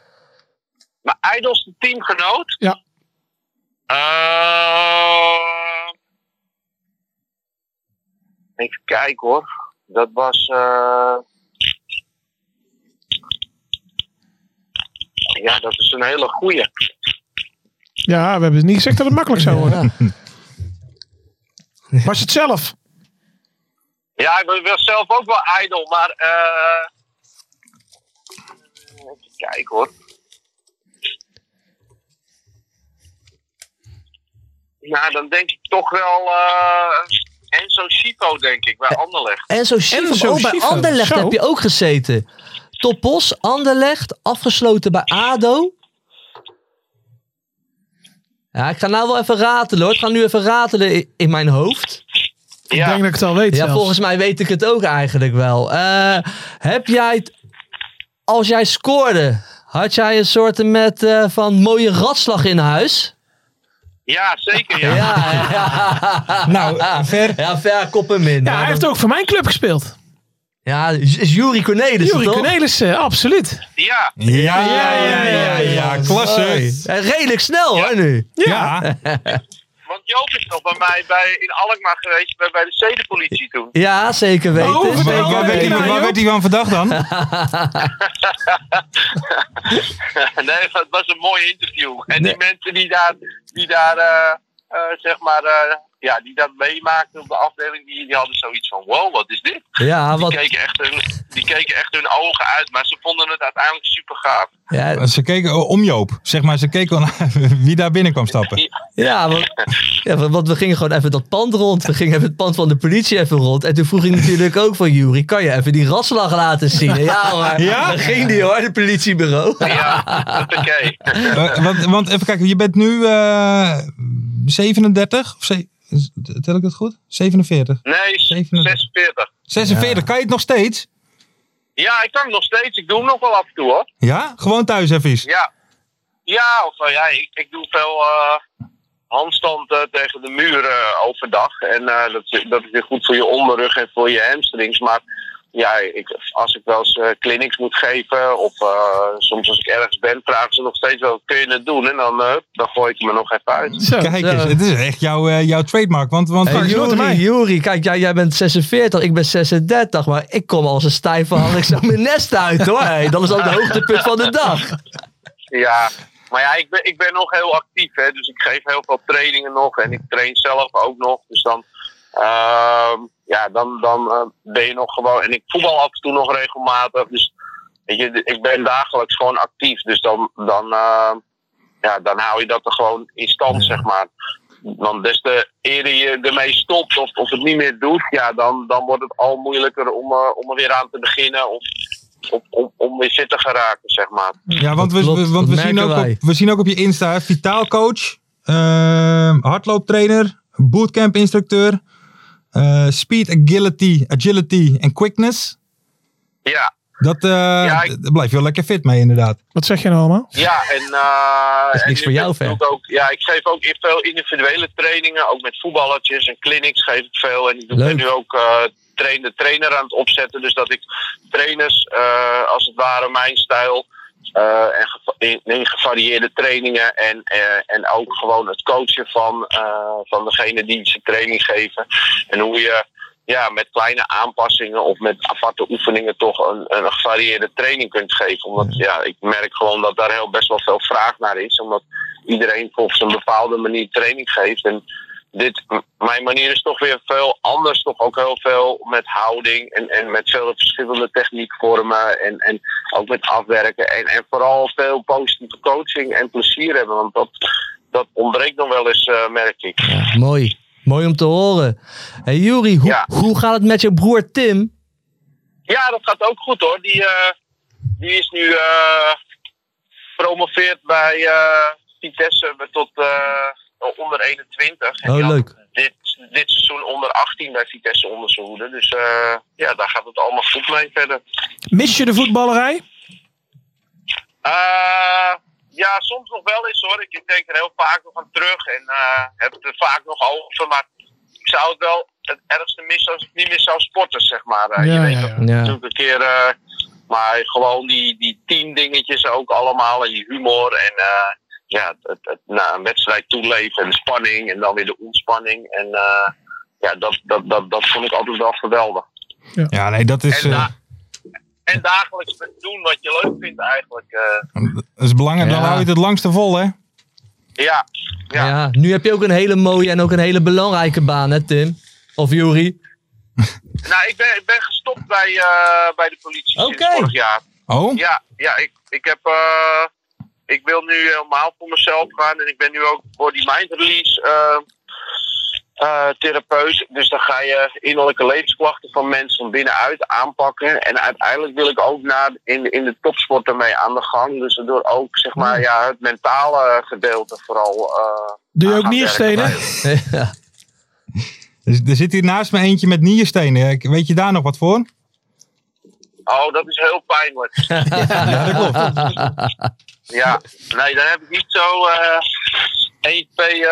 Speaker 6: mijn ijdelste teamgenoot?
Speaker 3: Ja.
Speaker 6: Eh, even kijken hoor. Dat was. eh, Ja, dat is een hele goeie.
Speaker 3: Ja, we hebben niet gezegd dat het makkelijk zou worden. Was het zelf?
Speaker 6: Ja, ik ben wel zelf ook wel ijdel, maar. eh Even kijken hoor. Nou, dan denk ik toch wel. eh Enzo Chico, denk ik, bij Anderlecht.
Speaker 4: En zo Schiefer,
Speaker 3: Enzo
Speaker 4: oh, bij
Speaker 3: Schiefer.
Speaker 4: Anderlecht
Speaker 3: Zo.
Speaker 4: heb je ook gezeten. Topos, Anderlecht, afgesloten bij ADO. Ja, ik ga nou wel even ratelen hoor. Ik ga nu even ratelen i- in mijn hoofd.
Speaker 3: Ik denk dat ik het al weet
Speaker 4: Ja,
Speaker 3: zelfs.
Speaker 4: volgens mij weet ik het ook eigenlijk wel. Eh, heb jij, het- als jij scoorde, had jij een soort met eh, van mooie ratslag in huis?
Speaker 6: Ja, zeker. Ja.
Speaker 4: Ja, ja, ja.
Speaker 2: Nou, Ver,
Speaker 4: ja ver kop hem in.
Speaker 3: Ja, hij heeft ook voor mijn club gespeeld.
Speaker 4: Ja, is Jurie Cornelissen
Speaker 3: Jurie
Speaker 4: toch?
Speaker 3: Cornelissen, eh, absoluut.
Speaker 6: ja.
Speaker 2: Ja, ja, ja, ja, ja,
Speaker 4: Oh,
Speaker 2: klasse.
Speaker 4: Ja, eh, Redelijk snel hoor nu.
Speaker 2: Ja,
Speaker 6: Want Joop is nog bij mij bij, in Alkmaar geweest, bij, bij de zedenpolitie toen.
Speaker 4: Ja, zeker
Speaker 2: Nou,
Speaker 4: weten.
Speaker 3: Oh,
Speaker 4: Zeker
Speaker 3: vertel,
Speaker 2: waar
Speaker 3: ben
Speaker 2: werd
Speaker 3: ik
Speaker 2: die-
Speaker 3: nou,
Speaker 4: weten.
Speaker 2: waar
Speaker 3: joh?
Speaker 2: werd hij van verdacht dan?
Speaker 6: nee, het was een mooi interview. En die mensen die daar, die daar eh, eh, zeg maar, eh, ja, die dat meemaakten op de afdeling, die, die hadden zoiets van, wow, wat is dit?
Speaker 4: Ja,
Speaker 6: Die
Speaker 4: wat,
Speaker 6: keken, echt hun, die keken echt hun ogen uit, maar ze vonden het uiteindelijk super gaaf.
Speaker 4: ja,
Speaker 2: Ze keken oh, om Joop, zeg maar. Ze keken wel naar wie daar binnen kwam stappen.
Speaker 4: ja, want, ja, want- want we gingen gewoon even dat pand rond. We gingen even het pand van de politie even rond. En toen vroeg ik natuurlijk ook van Jury, kan je even die ratslag laten zien? En Ja hoor,
Speaker 2: Ja?
Speaker 4: daar ging die hoor, het politiebureau.
Speaker 6: Ja, oké.
Speaker 2: Eh, want, want even kijken, je bent nu eh, 37? Of ze- tel ik dat goed? 47.
Speaker 6: Nee, 46.
Speaker 2: 46, kan je het nog steeds?
Speaker 6: Ja, ik kan het nog steeds. Ik doe hem nog wel af en toe, hoor.
Speaker 2: Ja? Gewoon thuis even.
Speaker 6: Ja, ja, of, eh, ja ik, ik doe veel eh, handstand eh, tegen de muur eh, overdag. En eh, dat, is- dat is weer goed voor je onderrug en voor je hamstrings. Maar ja, ik, als ik wel eens eh, clinics moet geven of eh, soms als ik ergens ben, vragen ze nog steeds wel, kun je het doen? En dan, eh, dan gooi ik me nog even uit.
Speaker 3: Zo.
Speaker 2: Kijk eens,
Speaker 4: Zo.
Speaker 2: het is echt jouw, eh, jouw trademark. Want, want
Speaker 4: Hey, Eh, Jury, Jury, kijk, jij, jij bent 46, ik ben 36, maar ik kom als een stijve hang zo mijn nest uit hoor. Hey, dat is ook het hoogtepunt van de dag.
Speaker 6: Ja, maar ja, ik ben, ik ben nog heel actief, hè, dus ik geef heel veel trainingen nog en ik train zelf ook nog. Dus dan, ehm, ja, dan, dan eh, ben je nog gewoon. En ik voetbal af en toe nog regelmatig, dus weet je, d- ik ben dagelijks gewoon actief. Dus dan, dan, ehm, ja, dan hou je dat er gewoon in stand, zeg maar. Want des te eerder je ermee stopt of, of het niet meer doet, ja, dan, dan wordt het al moeilijker om, eh, om er weer aan te beginnen of, of om, om weer fit te geraken, zeg maar.
Speaker 2: Ja, want,
Speaker 4: Dat
Speaker 2: we,
Speaker 4: klopt,
Speaker 2: we- want we,
Speaker 4: dat
Speaker 2: zien
Speaker 4: merken
Speaker 2: ook op,
Speaker 4: wij.
Speaker 2: we zien ook op je Insta, hè, vitaal coach, ehm, hardlooptrainer, bootcamp instructeur, eh, speed, agility, agility en quickness.
Speaker 6: Ja.
Speaker 2: Dat, eh
Speaker 6: ik-
Speaker 2: Daar blijf je wel lekker fit mee inderdaad.
Speaker 3: Wat zeg je nou allemaal?
Speaker 6: Ja, en... eh,
Speaker 4: is
Speaker 6: en
Speaker 4: niks
Speaker 6: ik
Speaker 4: voor jou,
Speaker 6: doe
Speaker 4: Fer.
Speaker 6: het Ook, ja, ik geef ook in veel individuele trainingen. Ook met voetballertjes en clinics geef ik veel. En ik doe-
Speaker 4: Leuk.
Speaker 6: ben nu ook eh train, de trainer aan het opzetten. Dus dat ik trainers, eh, als het ware mijn stijl... eh, en geva- in, in gevarieerde trainingen en, eh, en ook gewoon het coachen van, eh, van degene die ze training geven. En hoe je ja, met kleine aanpassingen of met aparte oefeningen toch een, een gevarieerde training kunt geven. Omdat ja, ik merk gewoon dat daar heel best wel veel vraag naar is. Omdat iedereen volgens een bepaalde manier training geeft. En dit, m- mijn manier is toch weer veel anders. Toch ook heel veel met houding en, en met veel verschillende techniekvormen. En, en ook met afwerken. En, en vooral veel positieve coaching en plezier hebben. Want dat, dat ontbreekt nog wel eens, eh, merk ik.
Speaker 4: Ja, mooi. Mooi om te horen. Hey Jury, hoe,
Speaker 6: Ja.
Speaker 4: hoe gaat het met je broer Tim?
Speaker 6: Ja, dat gaat ook goed hoor. Die, eh, die is nu eh promoveerd bij eh, Vitesse met tot eh, onder 21. En
Speaker 4: Oh,
Speaker 6: die had
Speaker 4: leuk.
Speaker 6: Dit, dit seizoen onder 18 bij Vitesse onder zijn hoede. Dus eh, ja, daar gaat het allemaal goed mee verder.
Speaker 3: Mis je de voetballerij?
Speaker 6: Eh, ja, soms nog wel eens hoor. Ik denk er heel vaak nog aan terug en eh, heb het er vaak nog over. Maar ik zou het wel het ergste missen als ik niet meer zou sporten, zeg maar. Eh, je
Speaker 3: Ja,
Speaker 6: weet
Speaker 3: ja,
Speaker 6: dat
Speaker 3: ja.
Speaker 4: Ja.
Speaker 6: natuurlijk een keer. eh, maar gewoon die, die teamdingetjes ook allemaal. En je humor en eh, ja, het, het na een wedstrijd toeleven en de spanning. En dan weer de ontspanning. En eh, ja, dat, dat, dat, dat vond ik altijd wel geweldig.
Speaker 2: Ja, nee, dat is,
Speaker 6: En,
Speaker 2: eh,
Speaker 6: da- en dagelijks doen wat je leuk vindt eigenlijk. eh.
Speaker 2: dat is belangrijk. Dan
Speaker 4: Ja.
Speaker 2: hou je het het langste vol, hè?
Speaker 6: ja,
Speaker 4: Ja.
Speaker 6: Ja.
Speaker 4: nu heb je ook een hele mooie en ook een hele belangrijke baan, hè Tim? Of Jury?
Speaker 6: nou ik ben, ik ben gestopt bij, eh, bij de politie sinds
Speaker 4: Oké.
Speaker 6: vorig jaar.
Speaker 2: Oh,
Speaker 6: Ja, ja ik, ik heb. eh, ik wil nu helemaal voor mezelf gaan. En ik ben nu ook voor die mind release eh, eh, therapeut. Dus dan ga je innerlijke levensklachten van mensen van binnenuit aanpakken. En uiteindelijk wil ik ook naar, in, in de topsport ermee aan de gang. Dus daardoor ook zeg
Speaker 3: Hmm.
Speaker 6: maar, ja, het mentale gedeelte vooral. eh,
Speaker 3: Doe je
Speaker 6: aan
Speaker 3: ook
Speaker 6: gaan
Speaker 3: nierstenen?
Speaker 6: werken.
Speaker 4: ja.
Speaker 2: er, er zit hier naast me eentje met nierstenen. Ik- Weet je daar nog wat voor?
Speaker 6: Oh, dat is heel pijnlijk.
Speaker 2: Ja, dat klopt.
Speaker 6: Ja, nee, dan heb ik niet zo eh 1, 2 eh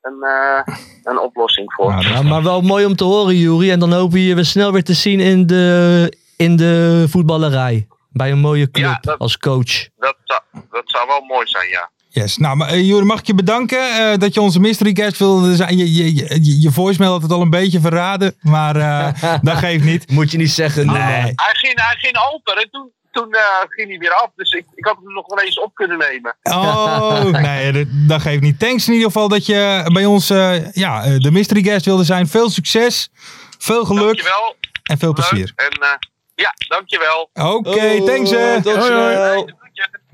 Speaker 6: een, eh, een oplossing voor.
Speaker 2: Nou,
Speaker 4: Ja, maar wel mooi om te horen, Jury. En dan hopen we je weer snel weer te zien in de, in de voetballerij. Bij een mooie club
Speaker 6: Ja, dat-
Speaker 4: als coach.
Speaker 6: Dat zou, dat zou wel mooi zijn, ja.
Speaker 2: Yes. Nou, maar eh, Joer, mag ik je bedanken eh, dat je onze mystery guest wilde zijn. Je, je, je, je voicemail had het al een beetje verraden, maar eh, dat geeft niet.
Speaker 4: Moet je niet zeggen.
Speaker 2: Nee.
Speaker 6: Hij ging, hij ging open en toen, toen eh, ging hij weer af. Dus ik, ik had hem nog wel eens op kunnen nemen.
Speaker 2: Oh, nee, dat, dat geeft niet. Thanks in ieder geval dat je bij ons eh, ja, eh, de mystery guest wilde zijn. Veel succes, veel geluk
Speaker 6: Dankjewel.
Speaker 2: en veel
Speaker 6: Leuk.
Speaker 2: plezier.
Speaker 6: En eh, ja, dankjewel.
Speaker 2: Oké, thanks eh. hè.
Speaker 4: Tot
Speaker 3: Hoi, hoi.
Speaker 4: snel.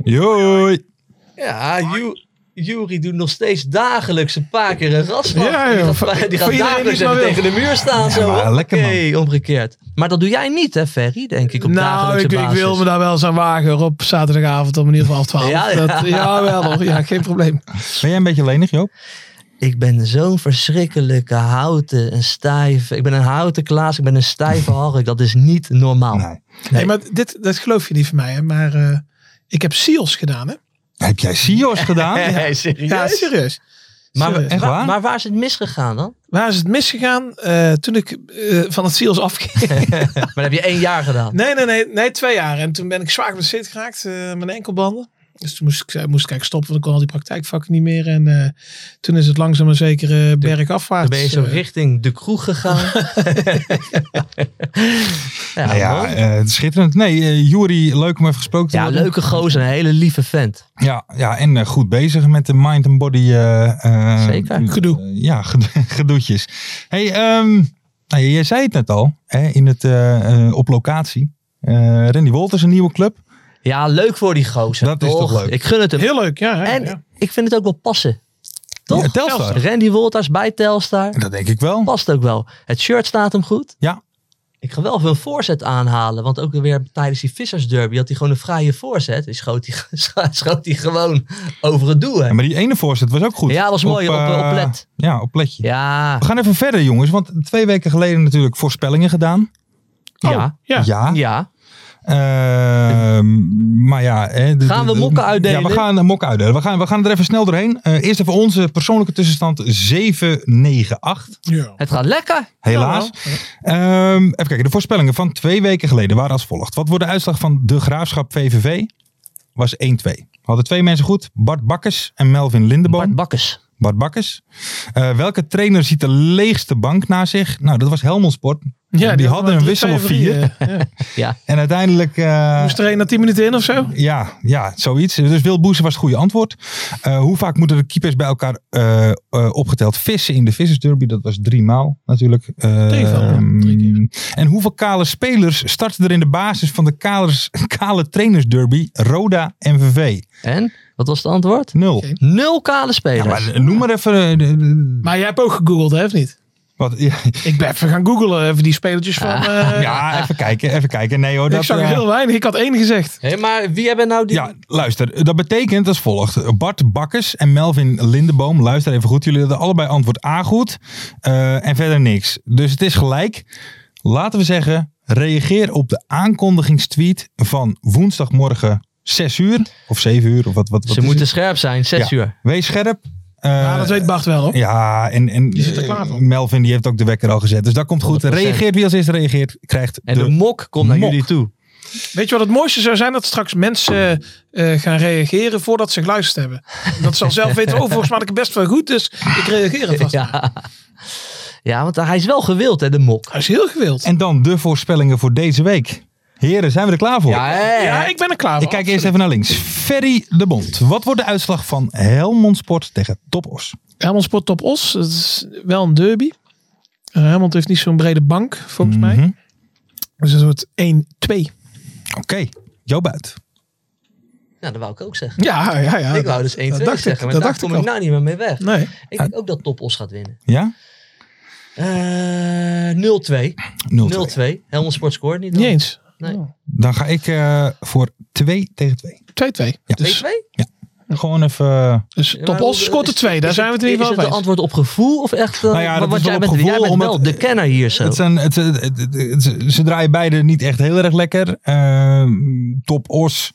Speaker 2: Joi.
Speaker 4: Ja, Ju- Jury doet nog steeds dagelijks een paar keer een rasslag.
Speaker 3: Ja,
Speaker 4: die
Speaker 3: joh.
Speaker 4: gaat, die gaat
Speaker 3: Voor iedereen die
Speaker 4: dagelijks
Speaker 3: het maar wil.
Speaker 4: even tegen de muur staan. zo.
Speaker 2: maar lekker, man.
Speaker 4: Hoppakee, omgekeerd. Maar dat doe jij niet, hè, Ferry? Denk ik op
Speaker 3: Nou,
Speaker 4: dagelijkse
Speaker 3: ik, ik
Speaker 4: basis.
Speaker 3: wil me daar wel eens aan wagen hoor, op zaterdagavond om in ieder geval half twaalf.
Speaker 4: Ja,
Speaker 3: Ja,
Speaker 4: ja.
Speaker 3: Dat, ja wel hoor. Ja, geen probleem.
Speaker 2: Ben jij een beetje lenig, Joop?
Speaker 4: Ik ben zo'n verschrikkelijke houten en stijve. Ik ben een houten Klaas, ik ben een stijve Hark. Dat is niet normaal.
Speaker 2: Nee.
Speaker 3: Nee, maar dit, dat geloof je niet van mij, hè? maar eh, ik heb SEALs gedaan. Hè?
Speaker 2: Heb jij Sios gedaan?
Speaker 4: Hey, serieus?
Speaker 3: Ja, serieus.
Speaker 4: Maar,
Speaker 3: Serieus.
Speaker 2: echt waar?
Speaker 4: maar, maar waar is het misgegaan dan?
Speaker 3: Waar is het misgegaan Eh, toen ik eh, van het SEALs afging?
Speaker 4: Maar dat heb je één jaar gedaan.
Speaker 3: Nee, nee, nee, nee, twee jaar. En toen ben ik zwaar geblesseerd geraakt, eh, mijn enkelbanden. Dus toen moest ik, moest ik eigenlijk stoppen, want ik kon al die praktijkvakken niet meer. En eh, toen is het langzaam maar zeker eh, bergafwaarts.
Speaker 4: Dan ben je zo
Speaker 3: eh,
Speaker 4: richting de kroeg gegaan. ja,
Speaker 2: Nou ja,
Speaker 4: mooi.
Speaker 2: eh, schitterend. Nee, eh Juri, leuk om even gesproken te
Speaker 4: ja,
Speaker 2: worden.
Speaker 4: leuke gozer, een hele lieve vent.
Speaker 2: Ja, ja en eh, goed bezig met de mind en body. eh, eh,
Speaker 4: Zeker.
Speaker 2: eh,
Speaker 3: Gedoe.
Speaker 2: ja, gedo- gedoetjes. hey, ehm, nou, jij zei het net al, hè, in het, eh, eh, op locatie. Eh Randy Wolters, een nieuwe club.
Speaker 4: Ja, leuk voor die gozer.
Speaker 2: Dat is toch leuk?
Speaker 4: Ik gun het hem.
Speaker 3: Heel leuk, ja. hè,
Speaker 4: en
Speaker 3: ja.
Speaker 4: ik vind het ook wel passen. Toch?
Speaker 2: Ja, Telstar.
Speaker 4: Randy Wolters bij Telstar.
Speaker 2: Dat denk ik wel.
Speaker 4: Past ook wel. Het shirt staat hem goed.
Speaker 2: Ja.
Speaker 4: Ik ga wel veel voorzet aanhalen. Want ook weer tijdens die vissersderby had hij gewoon een vrije voorzet. Die schoot hij, schoot hij gewoon over het doel.
Speaker 2: Ja,
Speaker 4: heen.
Speaker 2: maar die ene voorzet was ook goed.
Speaker 4: Ja, was mooi, op, eh,
Speaker 2: eh,
Speaker 4: op led.
Speaker 2: Ja, op letje.
Speaker 4: Ja.
Speaker 2: We gaan even verder, jongens. Want twee weken geleden natuurlijk voorspellingen gedaan.
Speaker 4: ja.
Speaker 3: ja.
Speaker 2: Oh. Ja.
Speaker 4: Ja.
Speaker 2: Ehm, maar ja. hè, de-
Speaker 4: Gaan we
Speaker 2: de-
Speaker 4: mokken uitdelen?
Speaker 2: Ja, we gaan eh, mokken uitdelen. We gaan, we gaan er even snel doorheen. Eh, eerst even onze persoonlijke tussenstand 798.
Speaker 3: Ja.
Speaker 4: Het gaat lekker.
Speaker 2: Helaas. Ehm, even kijken. De voorspellingen van twee weken geleden waren als volgt. Wat wordt de uitslag van de graafschap VVV? Was 1-2. Hadden twee mensen goed. Bart Bakkers en Melvin Lindeboom.
Speaker 4: Bart Bakkers.
Speaker 2: Bart Bakkers. Eh, welke trainer ziet de leegste bank na zich? Nou, dat was Helmond Sport. die, hadden een wissel of vier.
Speaker 4: Ja.
Speaker 2: En uiteindelijk... eh,
Speaker 3: eh, Moest er één na tien minuten in of zo?
Speaker 2: ja, ja, zoiets. Dus Wil Boezen was het goede antwoord. Eh, hoe vaak moeten de keepers bij elkaar eh, eh, opgeteld vissen in de vissersderby? Dat was drie maal natuurlijk. Eh,
Speaker 3: Tegenval, ja.
Speaker 2: ehm,
Speaker 3: Drie
Speaker 2: en hoeveel kale spelers starten er in de basis van de kalers, kale trainersderby Roda MVV?
Speaker 4: En? Wat was het antwoord?
Speaker 2: Nul.
Speaker 3: Geen
Speaker 4: Nul kale
Speaker 2: Ja,
Speaker 4: spelers.
Speaker 2: maar noem maar even... eh, de- de-
Speaker 3: Maar jij hebt ook gegoogeld, hè, of niet?
Speaker 2: wat, ja,
Speaker 3: Ik ben even gaan googelen, even die spelertjes van... eh,
Speaker 2: ja, even kijken, even kijken. Nee hoor,
Speaker 3: ik
Speaker 2: dat...
Speaker 3: zag
Speaker 2: eh,
Speaker 3: heel weinig, ik had één gezegd.
Speaker 4: Hé, maar wie hebben nou die...
Speaker 2: Ja, luister. Dat betekent als volgt. Bart Bakkers en Melvin Lindeboom. Luister even goed. Jullie hadden allebei antwoord A goed. eh, en verder niks. Dus het is gelijk. Laten we zeggen, reageer op de aankondigingstweet van woensdagmorgen zes uur of zeven uur of wat. wat, wat
Speaker 4: Ze
Speaker 2: is
Speaker 4: moeten
Speaker 2: het?
Speaker 4: scherp zijn, zes
Speaker 2: Ja.
Speaker 4: uur.
Speaker 2: Wees scherp. Eh,
Speaker 3: Ja, dat weet Bart wel hoor.
Speaker 2: Ja, en, en
Speaker 3: zit er klaar voor.
Speaker 2: Melvin die heeft ook de wekker al gezet. Dus dat komt goed.
Speaker 4: 100%.
Speaker 2: Reageert wie als eerste reageert, krijgt
Speaker 4: En de,
Speaker 2: de...
Speaker 4: mok komt naar
Speaker 2: mok.
Speaker 4: jullie toe.
Speaker 3: Weet je wat het mooiste zou zijn? Dat straks mensen eh, gaan reageren voordat ze geluisterd hebben. Dat ze al zelf weten, oh volgens mij had ik het best wel goed, dus ik reageer er vast.
Speaker 4: Ja. ja, want hij is wel gewild, hè, de mok.
Speaker 3: Hij is heel gewild.
Speaker 2: En dan de voorspellingen voor deze week. Heren, zijn we er klaar voor?
Speaker 4: Ja, hè?
Speaker 3: ja, ik ben er klaar voor.
Speaker 2: eh, Ik kijk eerst even naar links. Ferry de Bond. Wat wordt de uitslag van Helmond Sport tegen Topos?
Speaker 3: Helmond Sport Top Os, dat is wel een derby. Eh, Helmond heeft niet zo'n brede bank, volgens mij.
Speaker 2: Mhm.
Speaker 3: Dus een soort 1-2.
Speaker 2: Oké, jouw buit.
Speaker 4: Nou, dat wou ik ook zeggen.
Speaker 3: Ja, ja, ja.
Speaker 4: ik wou dus 1-2
Speaker 3: dacht ik,
Speaker 4: zeggen, maar
Speaker 3: dat
Speaker 4: daar
Speaker 3: dacht
Speaker 4: kom
Speaker 3: ik
Speaker 4: ik
Speaker 3: al.
Speaker 4: nou niet meer mee weg.
Speaker 3: Nee.
Speaker 4: Ik denk ook dat Topos gaat winnen.
Speaker 2: Ja?
Speaker 4: Eh 0-2.
Speaker 2: 0-2.
Speaker 4: 0-2. Helmond Sport scoort niet. dan.
Speaker 3: Niet eens. 2-2.
Speaker 4: Nee.
Speaker 2: Dan ga ik eh, voor 2 tegen 2.
Speaker 3: Dus,
Speaker 4: 2-2?
Speaker 2: Gewoon even... eh,
Speaker 3: dus Top Os scoort er 2. Daar
Speaker 4: Is
Speaker 3: zijn we het in ieder
Speaker 4: Is
Speaker 3: geval
Speaker 4: het
Speaker 3: over
Speaker 4: de
Speaker 3: eens.
Speaker 4: antwoord op gevoel of echt... eh,
Speaker 2: Nou ja, dat
Speaker 4: want
Speaker 2: is wel
Speaker 4: jij
Speaker 2: op
Speaker 4: bent, jij
Speaker 2: gevoel,
Speaker 4: bent wel
Speaker 2: omdat-
Speaker 4: de kenner hier zo.
Speaker 2: Het zijn, het, het- het- het- het- ze draaien beide niet echt heel erg lekker. Ehm, top Os.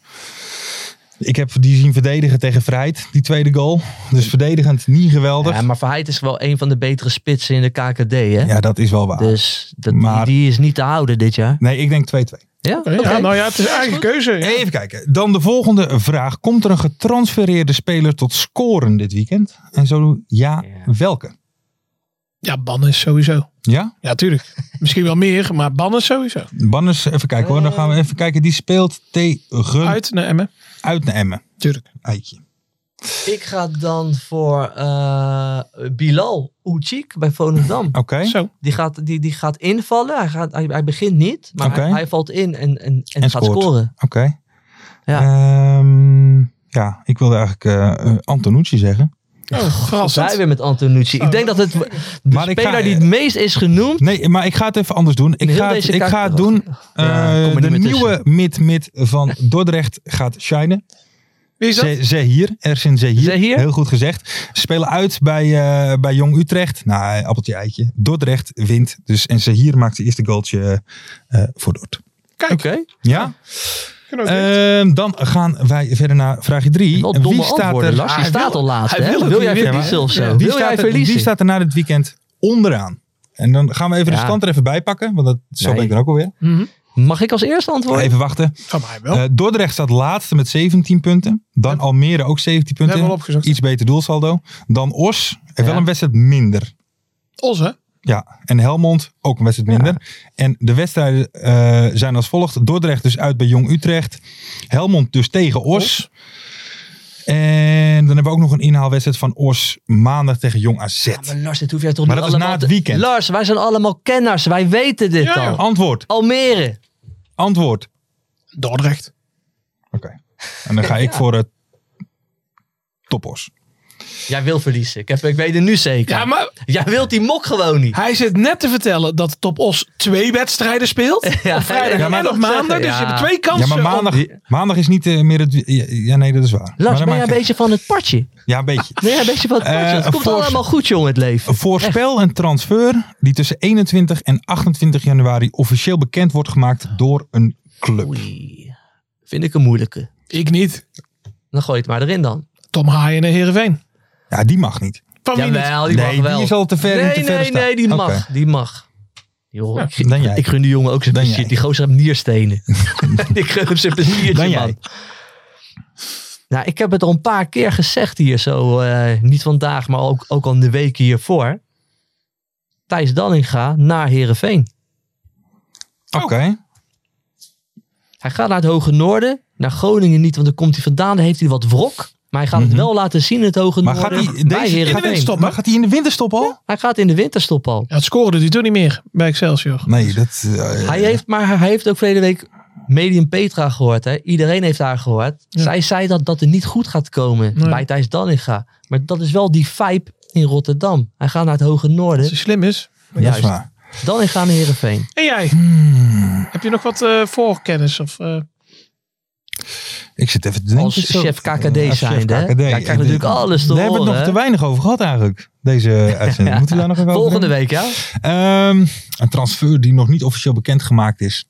Speaker 2: Ik heb die zien verdedigen tegen Vrijheid, die tweede goal. Dus verdedigend niet geweldig.
Speaker 4: ja,
Speaker 2: Ja,
Speaker 4: maar Verheid is wel een van de betere spitsen in de KKD, hè?
Speaker 2: dat is wel waar.
Speaker 4: Dus dat,
Speaker 2: Maar-
Speaker 4: die, die is niet te houden dit jaar.
Speaker 2: Nee, ik denk 2-2.
Speaker 4: Ja?
Speaker 3: Oké, Ja, nou ja, het is eigen keuze. ja.
Speaker 2: Even kijken. Dan de volgende vraag. Komt er een getransfereerde speler tot scoren dit weekend? En zo ja,
Speaker 4: Ja.
Speaker 2: welke?
Speaker 3: Ja, Ban is sowieso.
Speaker 2: Ja?
Speaker 3: Ja, tuurlijk. Misschien wel meer, maar Ban is sowieso.
Speaker 2: Banners, even kijken hoor. Dan gaan
Speaker 4: Eh.
Speaker 2: we even kijken. Die speelt tegen uit,
Speaker 3: Uit naar Emmen.
Speaker 2: naar Emmen.
Speaker 3: Tuurlijk.
Speaker 2: Eitje.
Speaker 4: Ik ga dan voor eh, Bilal Uchik bij Volendam.
Speaker 2: Oké.
Speaker 3: Zo.
Speaker 4: Die gaat, die, die gaat invallen. Hij, gaat, hij, hij begint niet, maar
Speaker 2: Oké.
Speaker 4: hij, hij valt in en, en, en,
Speaker 2: En
Speaker 4: gaat
Speaker 2: scoort.
Speaker 4: scoren.
Speaker 2: Oké.
Speaker 4: Ja.
Speaker 2: Ehm, ja, ik wilde eigenlijk eh eh, Antonucci zeggen.
Speaker 3: Oh,
Speaker 4: Zij
Speaker 3: verrassend.
Speaker 4: weer met Antonucci. Ik denk dat het de
Speaker 2: Maar ik ga-
Speaker 4: speler die het meest is genoemd...
Speaker 2: Nee, maar ik ga het even anders doen. Ik
Speaker 4: heel
Speaker 2: ga het,
Speaker 4: deze
Speaker 2: ik ga het
Speaker 4: kaart-
Speaker 2: doen.
Speaker 4: Ja,
Speaker 2: Eh,
Speaker 4: kom er
Speaker 2: de
Speaker 4: niet meer
Speaker 2: nieuwe mid-mid van Dordrecht gaat shinen.
Speaker 3: Wie is dat?
Speaker 2: Ze- Zehir, Ersin Zehir.
Speaker 4: Zehir?
Speaker 2: Heel goed gezegd. Ze Spelen uit bij, eh, bij Jong Utrecht. Nou, appeltje eitje. Dordrecht wint. Dus, en Zehir maakt zijn eerste goaltje eh, voor Dort.
Speaker 3: Kijk.
Speaker 4: Oké.
Speaker 2: Ja?
Speaker 3: Kunnen we ook doen.
Speaker 2: Ehm, dan gaan wij verder naar vraagje 3.
Speaker 4: Wel domme antwoorden,
Speaker 2: Ah,
Speaker 4: Lars. Je
Speaker 3: hij
Speaker 4: staat
Speaker 3: wil-
Speaker 4: al laatst,
Speaker 3: hij
Speaker 4: hè?
Speaker 3: wil
Speaker 4: Wil,
Speaker 3: ook
Speaker 4: jij
Speaker 3: niet winnen.
Speaker 4: verliezen of zo?
Speaker 3: Ja,
Speaker 2: Wie
Speaker 4: Wil jij
Speaker 2: staat, er,
Speaker 4: verliezen?
Speaker 2: wie staat er na dit weekend onderaan? En dan gaan we even de
Speaker 4: Ja.
Speaker 2: stand er even bij pakken. Want dat, zo
Speaker 4: Nee.
Speaker 2: ben ik er ook alweer.
Speaker 4: Mag ik als eerste antwoorden?
Speaker 2: Even wachten.
Speaker 3: Van mij wel.
Speaker 2: Eh Dordrecht staat laatste met 17 punten. Dan Almere ook 17 punten.
Speaker 3: hebben we al opgezocht.
Speaker 2: Iets beter doelsaldo. Dan Os. Heeft wel
Speaker 4: Ja.
Speaker 2: een wedstrijd minder.
Speaker 3: Os, hè?
Speaker 2: Ja. En Helmond ook een wedstrijd minder. En de wedstrijden eh, zijn als volgt. Dordrecht dus uit bij Jong Utrecht. Helmond dus tegen Os. En dan hebben we ook nog een inhaalwedstrijd van Os maandag tegen Jong AZ.
Speaker 4: Ja, maar Lars, dit hoef jij toch
Speaker 2: Maar
Speaker 4: niet
Speaker 2: dat is na
Speaker 4: allemaal
Speaker 2: het
Speaker 4: te-
Speaker 2: weekend.
Speaker 4: Lars, wij zijn allemaal kenners. Wij weten dit
Speaker 3: Ja, ja.
Speaker 4: al.
Speaker 2: Antwoord.
Speaker 4: Almere.
Speaker 2: Antwoord.
Speaker 3: Dordrecht.
Speaker 2: Oké. En dan ga ik voor eh, het toppos.
Speaker 4: Jij wil verliezen. Ik, heb, ik weet het nu zeker.
Speaker 3: Ja, maar
Speaker 4: Jij wilt die mok gewoon niet.
Speaker 3: hij zit net te vertellen dat Top Os twee wedstrijden speelt.
Speaker 4: Ja,
Speaker 3: Vrijdag
Speaker 4: ja, maar
Speaker 3: en op
Speaker 4: dat
Speaker 3: maandag.
Speaker 4: zeggen,
Speaker 3: Dus
Speaker 4: ja.
Speaker 3: je hebt twee
Speaker 2: Ja,
Speaker 3: kansen.
Speaker 2: maar maandag,
Speaker 3: om-
Speaker 2: maandag is niet eh, meer het... Ja, ja, nee, dat is waar. Maar dat
Speaker 4: Lars, ben jij
Speaker 2: maakt
Speaker 4: een
Speaker 2: geen-
Speaker 4: beetje van het partje?
Speaker 2: Ja, een beetje.
Speaker 4: Nee, een beetje Ah, van het
Speaker 2: Eh,
Speaker 4: partje. het
Speaker 2: een
Speaker 4: komt
Speaker 2: voorst-
Speaker 4: allemaal goed, jongen, het leven.
Speaker 2: Voorspel een transfer die tussen 21 en 28 januari officieel bekend wordt gemaakt door een club.
Speaker 4: Oei. Vind ik een moeilijke.
Speaker 3: Ik niet.
Speaker 4: Dan gooi je het maar erin dan.
Speaker 3: Tom Haaien naar Heerenveen.
Speaker 2: Ja, die mag niet.
Speaker 3: Van wie niet?
Speaker 4: Jawel, die
Speaker 2: nee,
Speaker 4: mag wel.
Speaker 2: die is al te ver
Speaker 4: nee,
Speaker 2: in te
Speaker 4: nee,
Speaker 2: ver
Speaker 4: nee,
Speaker 2: staan.
Speaker 4: die
Speaker 2: Oké.
Speaker 4: mag. Die mag. Joh, ik,
Speaker 2: dan jij.
Speaker 4: ik gun die jongen ook zijn
Speaker 2: Dan
Speaker 4: plezier.
Speaker 2: jij.
Speaker 4: Die gozer heeft nierstenen. ik gun hem zijn pleziertje,
Speaker 2: Dan jij.
Speaker 4: man. Nou, ik heb het al een paar keer gezegd hier zo. eh, niet vandaag, maar ook, ook al de weken hiervoor. Thijs Dallinga naar Heerenveen.
Speaker 2: Oké.
Speaker 4: Hij gaat naar het Hoge Noorden. Naar Groningen niet, want daar komt hij vandaan. Dan heeft hij wat wrok. Maar hij gaat
Speaker 2: Mhm.
Speaker 4: het wel laten zien in het Hoge
Speaker 2: Maar gaat
Speaker 4: Noorden.
Speaker 2: die
Speaker 4: bij
Speaker 2: deze gaat,
Speaker 4: Heerenveen.
Speaker 2: die- maar gaat die in de winterstop al?
Speaker 4: Hij gaat in de winterstop al.
Speaker 3: Ja, het scoorde die toen niet meer bij Excelsior.
Speaker 2: Nee, dat... eh,
Speaker 4: Hij heeft, maar hij heeft ook verleden week Medium Petra gehoord. Hè? Iedereen heeft haar gehoord.
Speaker 3: Ja.
Speaker 4: Zij zei dat dat er niet goed gaat komen
Speaker 3: Nee.
Speaker 4: bij Thijs Dallinga. Maar dat is wel die vibe in Rotterdam. Hij gaat naar het Hoge Noorden.
Speaker 3: Dat ze slim is.
Speaker 2: dat is
Speaker 4: Juist.
Speaker 2: waar.
Speaker 4: Dallinga naar Heerenveen.
Speaker 3: En jij?
Speaker 4: Hmm.
Speaker 3: Heb je nog wat eh, voorkennis? Of, eh,
Speaker 2: Ik zit even te denken.
Speaker 4: Als
Speaker 2: zo- eh,
Speaker 4: chef KKD
Speaker 2: Als
Speaker 4: zijnde, hè?
Speaker 2: KKD.
Speaker 4: Ja, krijg je natuurlijk alles te
Speaker 2: We hebben het nog
Speaker 4: horen,
Speaker 2: te
Speaker 4: hè?
Speaker 2: weinig over gehad eigenlijk. Deze uitzending.
Speaker 4: Ja.
Speaker 2: Moeten we daar nog even over
Speaker 4: Volgende
Speaker 2: hebben?
Speaker 4: week, ja?
Speaker 2: Ehm, een transfer die nog niet officieel bekend gemaakt is.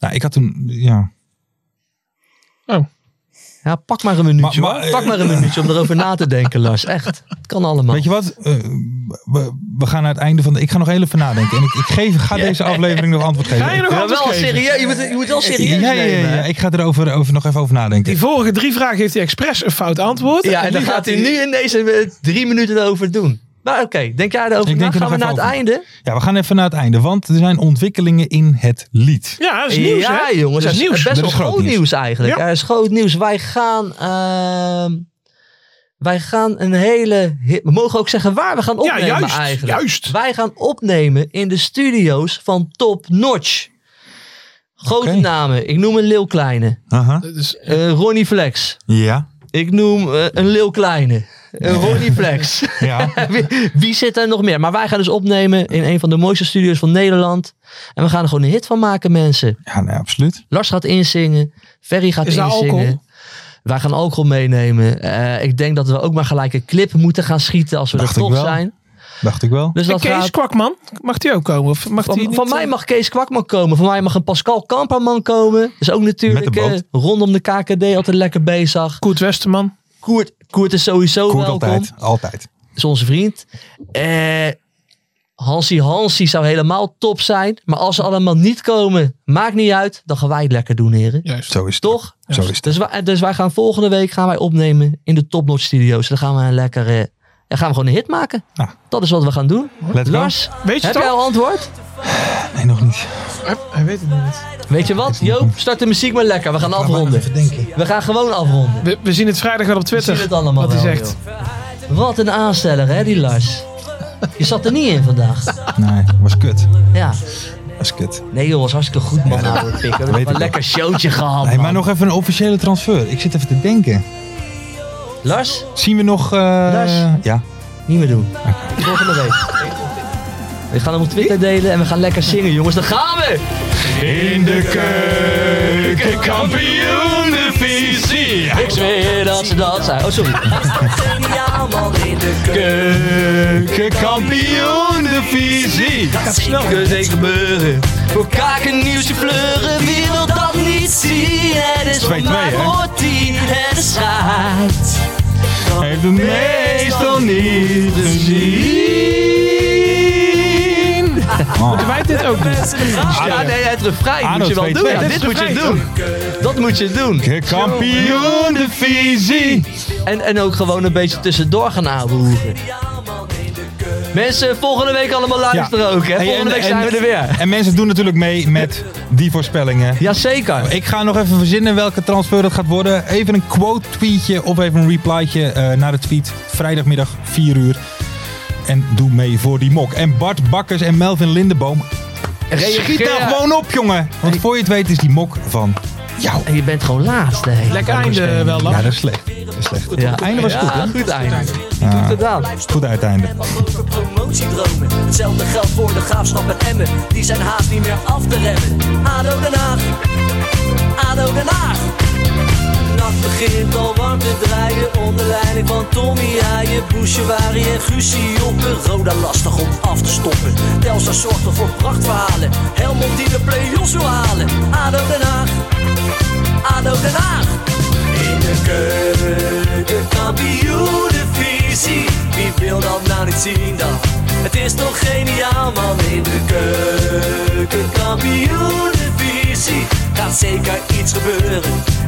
Speaker 2: Nou, ik had toen... Ja.
Speaker 4: Ja, pak maar een minuutje.
Speaker 2: Maar- maar-
Speaker 4: pak maar een minuutje om erover na te denken, Lars. Echt. Het kan allemaal.
Speaker 2: Weet je wat? Eh, we, we gaan naar het einde van de... Ik ga nog heel even nadenken. En ik, ik geef, ga deze aflevering nog antwoord geven.
Speaker 3: Ga je nog
Speaker 4: Ja,
Speaker 3: antwoord
Speaker 4: wel
Speaker 3: geven?
Speaker 4: serieus. Je moet, je moet wel serieus
Speaker 2: Ja, ja, ja,
Speaker 4: nemen.
Speaker 2: ja. Ik ga er over, over, nog even over nadenken.
Speaker 3: Die vorige drie vragen heeft hij expres een fout antwoord.
Speaker 4: Ja, en
Speaker 3: nu
Speaker 4: dan gaat hij nu in deze eh, drie minuten erover doen. Maar oké, denk jij erover
Speaker 2: Ik
Speaker 4: na?
Speaker 2: denk er
Speaker 4: Gaan we
Speaker 2: nog
Speaker 4: naar het
Speaker 2: even
Speaker 4: einde?
Speaker 2: Ja, we gaan even naar het einde. Want er zijn ontwikkelingen in het lied.
Speaker 3: Ja, dat is nieuws,
Speaker 4: ja,
Speaker 3: hè?
Speaker 4: jongens.
Speaker 3: dat is nieuws.
Speaker 4: Best
Speaker 2: Dat
Speaker 4: wel
Speaker 2: is groot
Speaker 4: groot nieuws,
Speaker 2: nieuws.
Speaker 4: eigenlijk.
Speaker 3: Ja.
Speaker 4: Er is groot nieuws. Wij gaan, ehm, wij gaan een hele... hit- We mogen ook zeggen waar we gaan opnemen
Speaker 3: juist,
Speaker 4: eigenlijk.
Speaker 3: juist.
Speaker 4: Wij gaan opnemen in de studio's van Top Notch. Grote
Speaker 2: Oké.
Speaker 4: namen. Ik noem een Leeuw Kleine.
Speaker 2: Aha.
Speaker 3: Dus,
Speaker 4: Eh, Ronnie Flex.
Speaker 2: Ja.
Speaker 4: Ik noem eh, een Leeuw Kleine. Een Ronnie Flex.
Speaker 2: Ja.
Speaker 4: wie, wie zit er nog meer? Maar wij gaan dus opnemen in een van de mooiste studio's van Nederland. En we gaan er gewoon een hit van maken, mensen.
Speaker 2: nou ja, nee, absoluut.
Speaker 4: Lars gaat inzingen. Ferry gaat
Speaker 3: Is daar
Speaker 4: inzingen.
Speaker 3: alcohol?
Speaker 4: Wij gaan alcohol meenemen. Eh, ik denk dat we ook maar gelijk een clip moeten gaan schieten als we
Speaker 2: Dacht ik
Speaker 4: er toch
Speaker 2: wel.
Speaker 4: zijn.
Speaker 2: Dacht ik wel.
Speaker 4: Dus
Speaker 3: en
Speaker 4: dat
Speaker 3: Kees
Speaker 4: gaat...
Speaker 3: Kwakman, mag die ook komen? Of mag die
Speaker 4: Van,
Speaker 3: niet,
Speaker 4: van mij
Speaker 3: eh,
Speaker 4: mag Kees Kwakman komen. Van mij mag een Pascal Kamperman komen. Dat is ook natuurlijk
Speaker 2: Met de boot.
Speaker 4: eh, rondom de KKD altijd lekker bezig.
Speaker 3: Koert Westerman.
Speaker 4: Koert, Koert is sowieso
Speaker 2: Koert
Speaker 4: welkom.
Speaker 2: altijd. Altijd.
Speaker 4: is onze vriend. Eh, Hansi Hansi zou helemaal top zijn. Maar als ze allemaal niet komen, maakt niet uit. Dan gaan wij het lekker doen, heren.
Speaker 3: Juist.
Speaker 2: Zo is het.
Speaker 4: Toch?
Speaker 2: Zo is het.
Speaker 4: Dus wij, dus wij gaan volgende week gaan wij opnemen in de Top Notch Studios. Dan gaan we een lekker... eh, dan gaan we gewoon een hit maken.
Speaker 2: Nou.
Speaker 4: Dat is wat we gaan doen.
Speaker 2: Let's go.
Speaker 4: Lars,
Speaker 3: Weet je
Speaker 4: heb
Speaker 3: het
Speaker 4: jij
Speaker 3: al?
Speaker 4: al antwoord?
Speaker 2: Nee, nog niet.
Speaker 3: Hij weet het niet.
Speaker 4: Weet je wat? Joop, start de muziek maar lekker. We gaan afronden. We gaan gewoon afronden.
Speaker 3: We, we zien het vrijdag wel op Twitter.
Speaker 4: zien het allemaal
Speaker 3: Wat hij
Speaker 4: wel,
Speaker 3: zegt.
Speaker 4: Wat een aansteller, hè, die Lars. Je zat er niet in vandaag.
Speaker 2: Nee, was kut.
Speaker 4: Ja.
Speaker 2: Was kut.
Speaker 4: Nee joh, was hartstikke goed man. Ja, Pik. We hebben
Speaker 2: weet
Speaker 4: wel een
Speaker 2: ik
Speaker 4: lekker showtje gehad
Speaker 2: Hey, maar
Speaker 4: man.
Speaker 2: nog even een officiële transfer. Ik zit even te denken.
Speaker 4: Lars,
Speaker 2: Zien we nog... eh,
Speaker 4: Lars?
Speaker 2: Ja.
Speaker 4: niet meer doen. Volgende week. We gaan hem op Twitter delen en we gaan lekker zingen jongens. Daar gaan we!
Speaker 2: In de keuken, kampioenenvisie.
Speaker 4: Ik zweer dat ze dat zijn. Oh sorry.
Speaker 2: Keuken, kampioenenvisie.
Speaker 4: Dat snel zeker gebeuren. Voor kaken, nieuwsje, fleuren. Wie wil dat niet zien? Het is voor
Speaker 2: 2-2,
Speaker 4: mij
Speaker 2: hè?
Speaker 4: voor tien. Het is schijt.
Speaker 2: Heeft het meestal niet gezien. Oh.
Speaker 3: Wij dit ook niet.
Speaker 4: Ja, Ah, nee, het refrein
Speaker 2: Arno,
Speaker 4: moet je wel
Speaker 2: 2-2.
Speaker 4: doen. Ja,
Speaker 2: Dat
Speaker 4: dit
Speaker 3: is
Speaker 4: moet je
Speaker 3: refrein,
Speaker 4: doen. Dat moet je doen.
Speaker 2: De kampioenenvisie.
Speaker 4: En, en ook gewoon een beetje tussendoor gaan aanroeren. Mensen, volgende week allemaal luisteren ook. Hè?
Speaker 2: Hey,
Speaker 4: Volgende
Speaker 2: en-
Speaker 4: week
Speaker 2: en-
Speaker 4: zijn we er weer.
Speaker 2: En mensen doen natuurlijk mee met die voorspellingen.
Speaker 4: Jazeker.
Speaker 2: Ik ga nog even verzinnen welke transfer dat gaat worden. Even een quote tweetje of even een replytje eh, naar de tweet. Vrijdagmiddag 4 uur. En doe mee voor die mok. En Bart Bakkers en Melvin Lindenboom. Schiet daar gewoon op, jongen. Want voor je het weet is die mok van jou.
Speaker 4: En je bent gewoon laatst. hè.
Speaker 3: Lekker einde wel,
Speaker 2: Ja,
Speaker 3: Lars.
Speaker 2: dat is slecht. Dat is slecht.
Speaker 4: Ja.
Speaker 2: Het einde was goed,
Speaker 4: Ja,
Speaker 2: hè?
Speaker 4: eh, goed einde. Goed
Speaker 2: Ja,
Speaker 4: gedaan.
Speaker 2: goed uiteinde.
Speaker 7: grote promotiedromen. Hetzelfde geldt voor de graafschap en Emmen. Die zijn haast niet meer af te remmen. ADO Den Haag. ADO Den Haag. Nacht begint al warm te draaien onder leiding van Tommy Haaien, Bouchouari en Guusje Joppen. Roda lastig om af te stoppen. Telstar zorgt er voor prachtverhalen. Helmond die de play-offs wil halen. ADO Den Haag. ADO Den Haag. In de keuken, kampioenenvisie. Wie wil dat nou niet zien dan? Het is toch geniaal man in de keuken, kampioenenvisie. Gaat zeker iets gebeuren,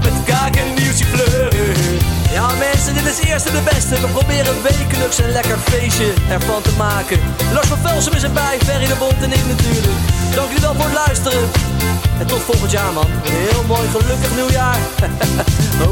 Speaker 7: met kaken nieuwtje fleuren. Ja mensen, dit is eerst en de beste. We proberen wekelijks een lekker feestje ervan te maken. Lars van Velsum is erbij, Ferry de Bond en ik natuurlijk. Dank jullie wel voor het luisteren. En tot volgend jaar, man. Een heel mooi gelukkig nieuwjaar. Ho,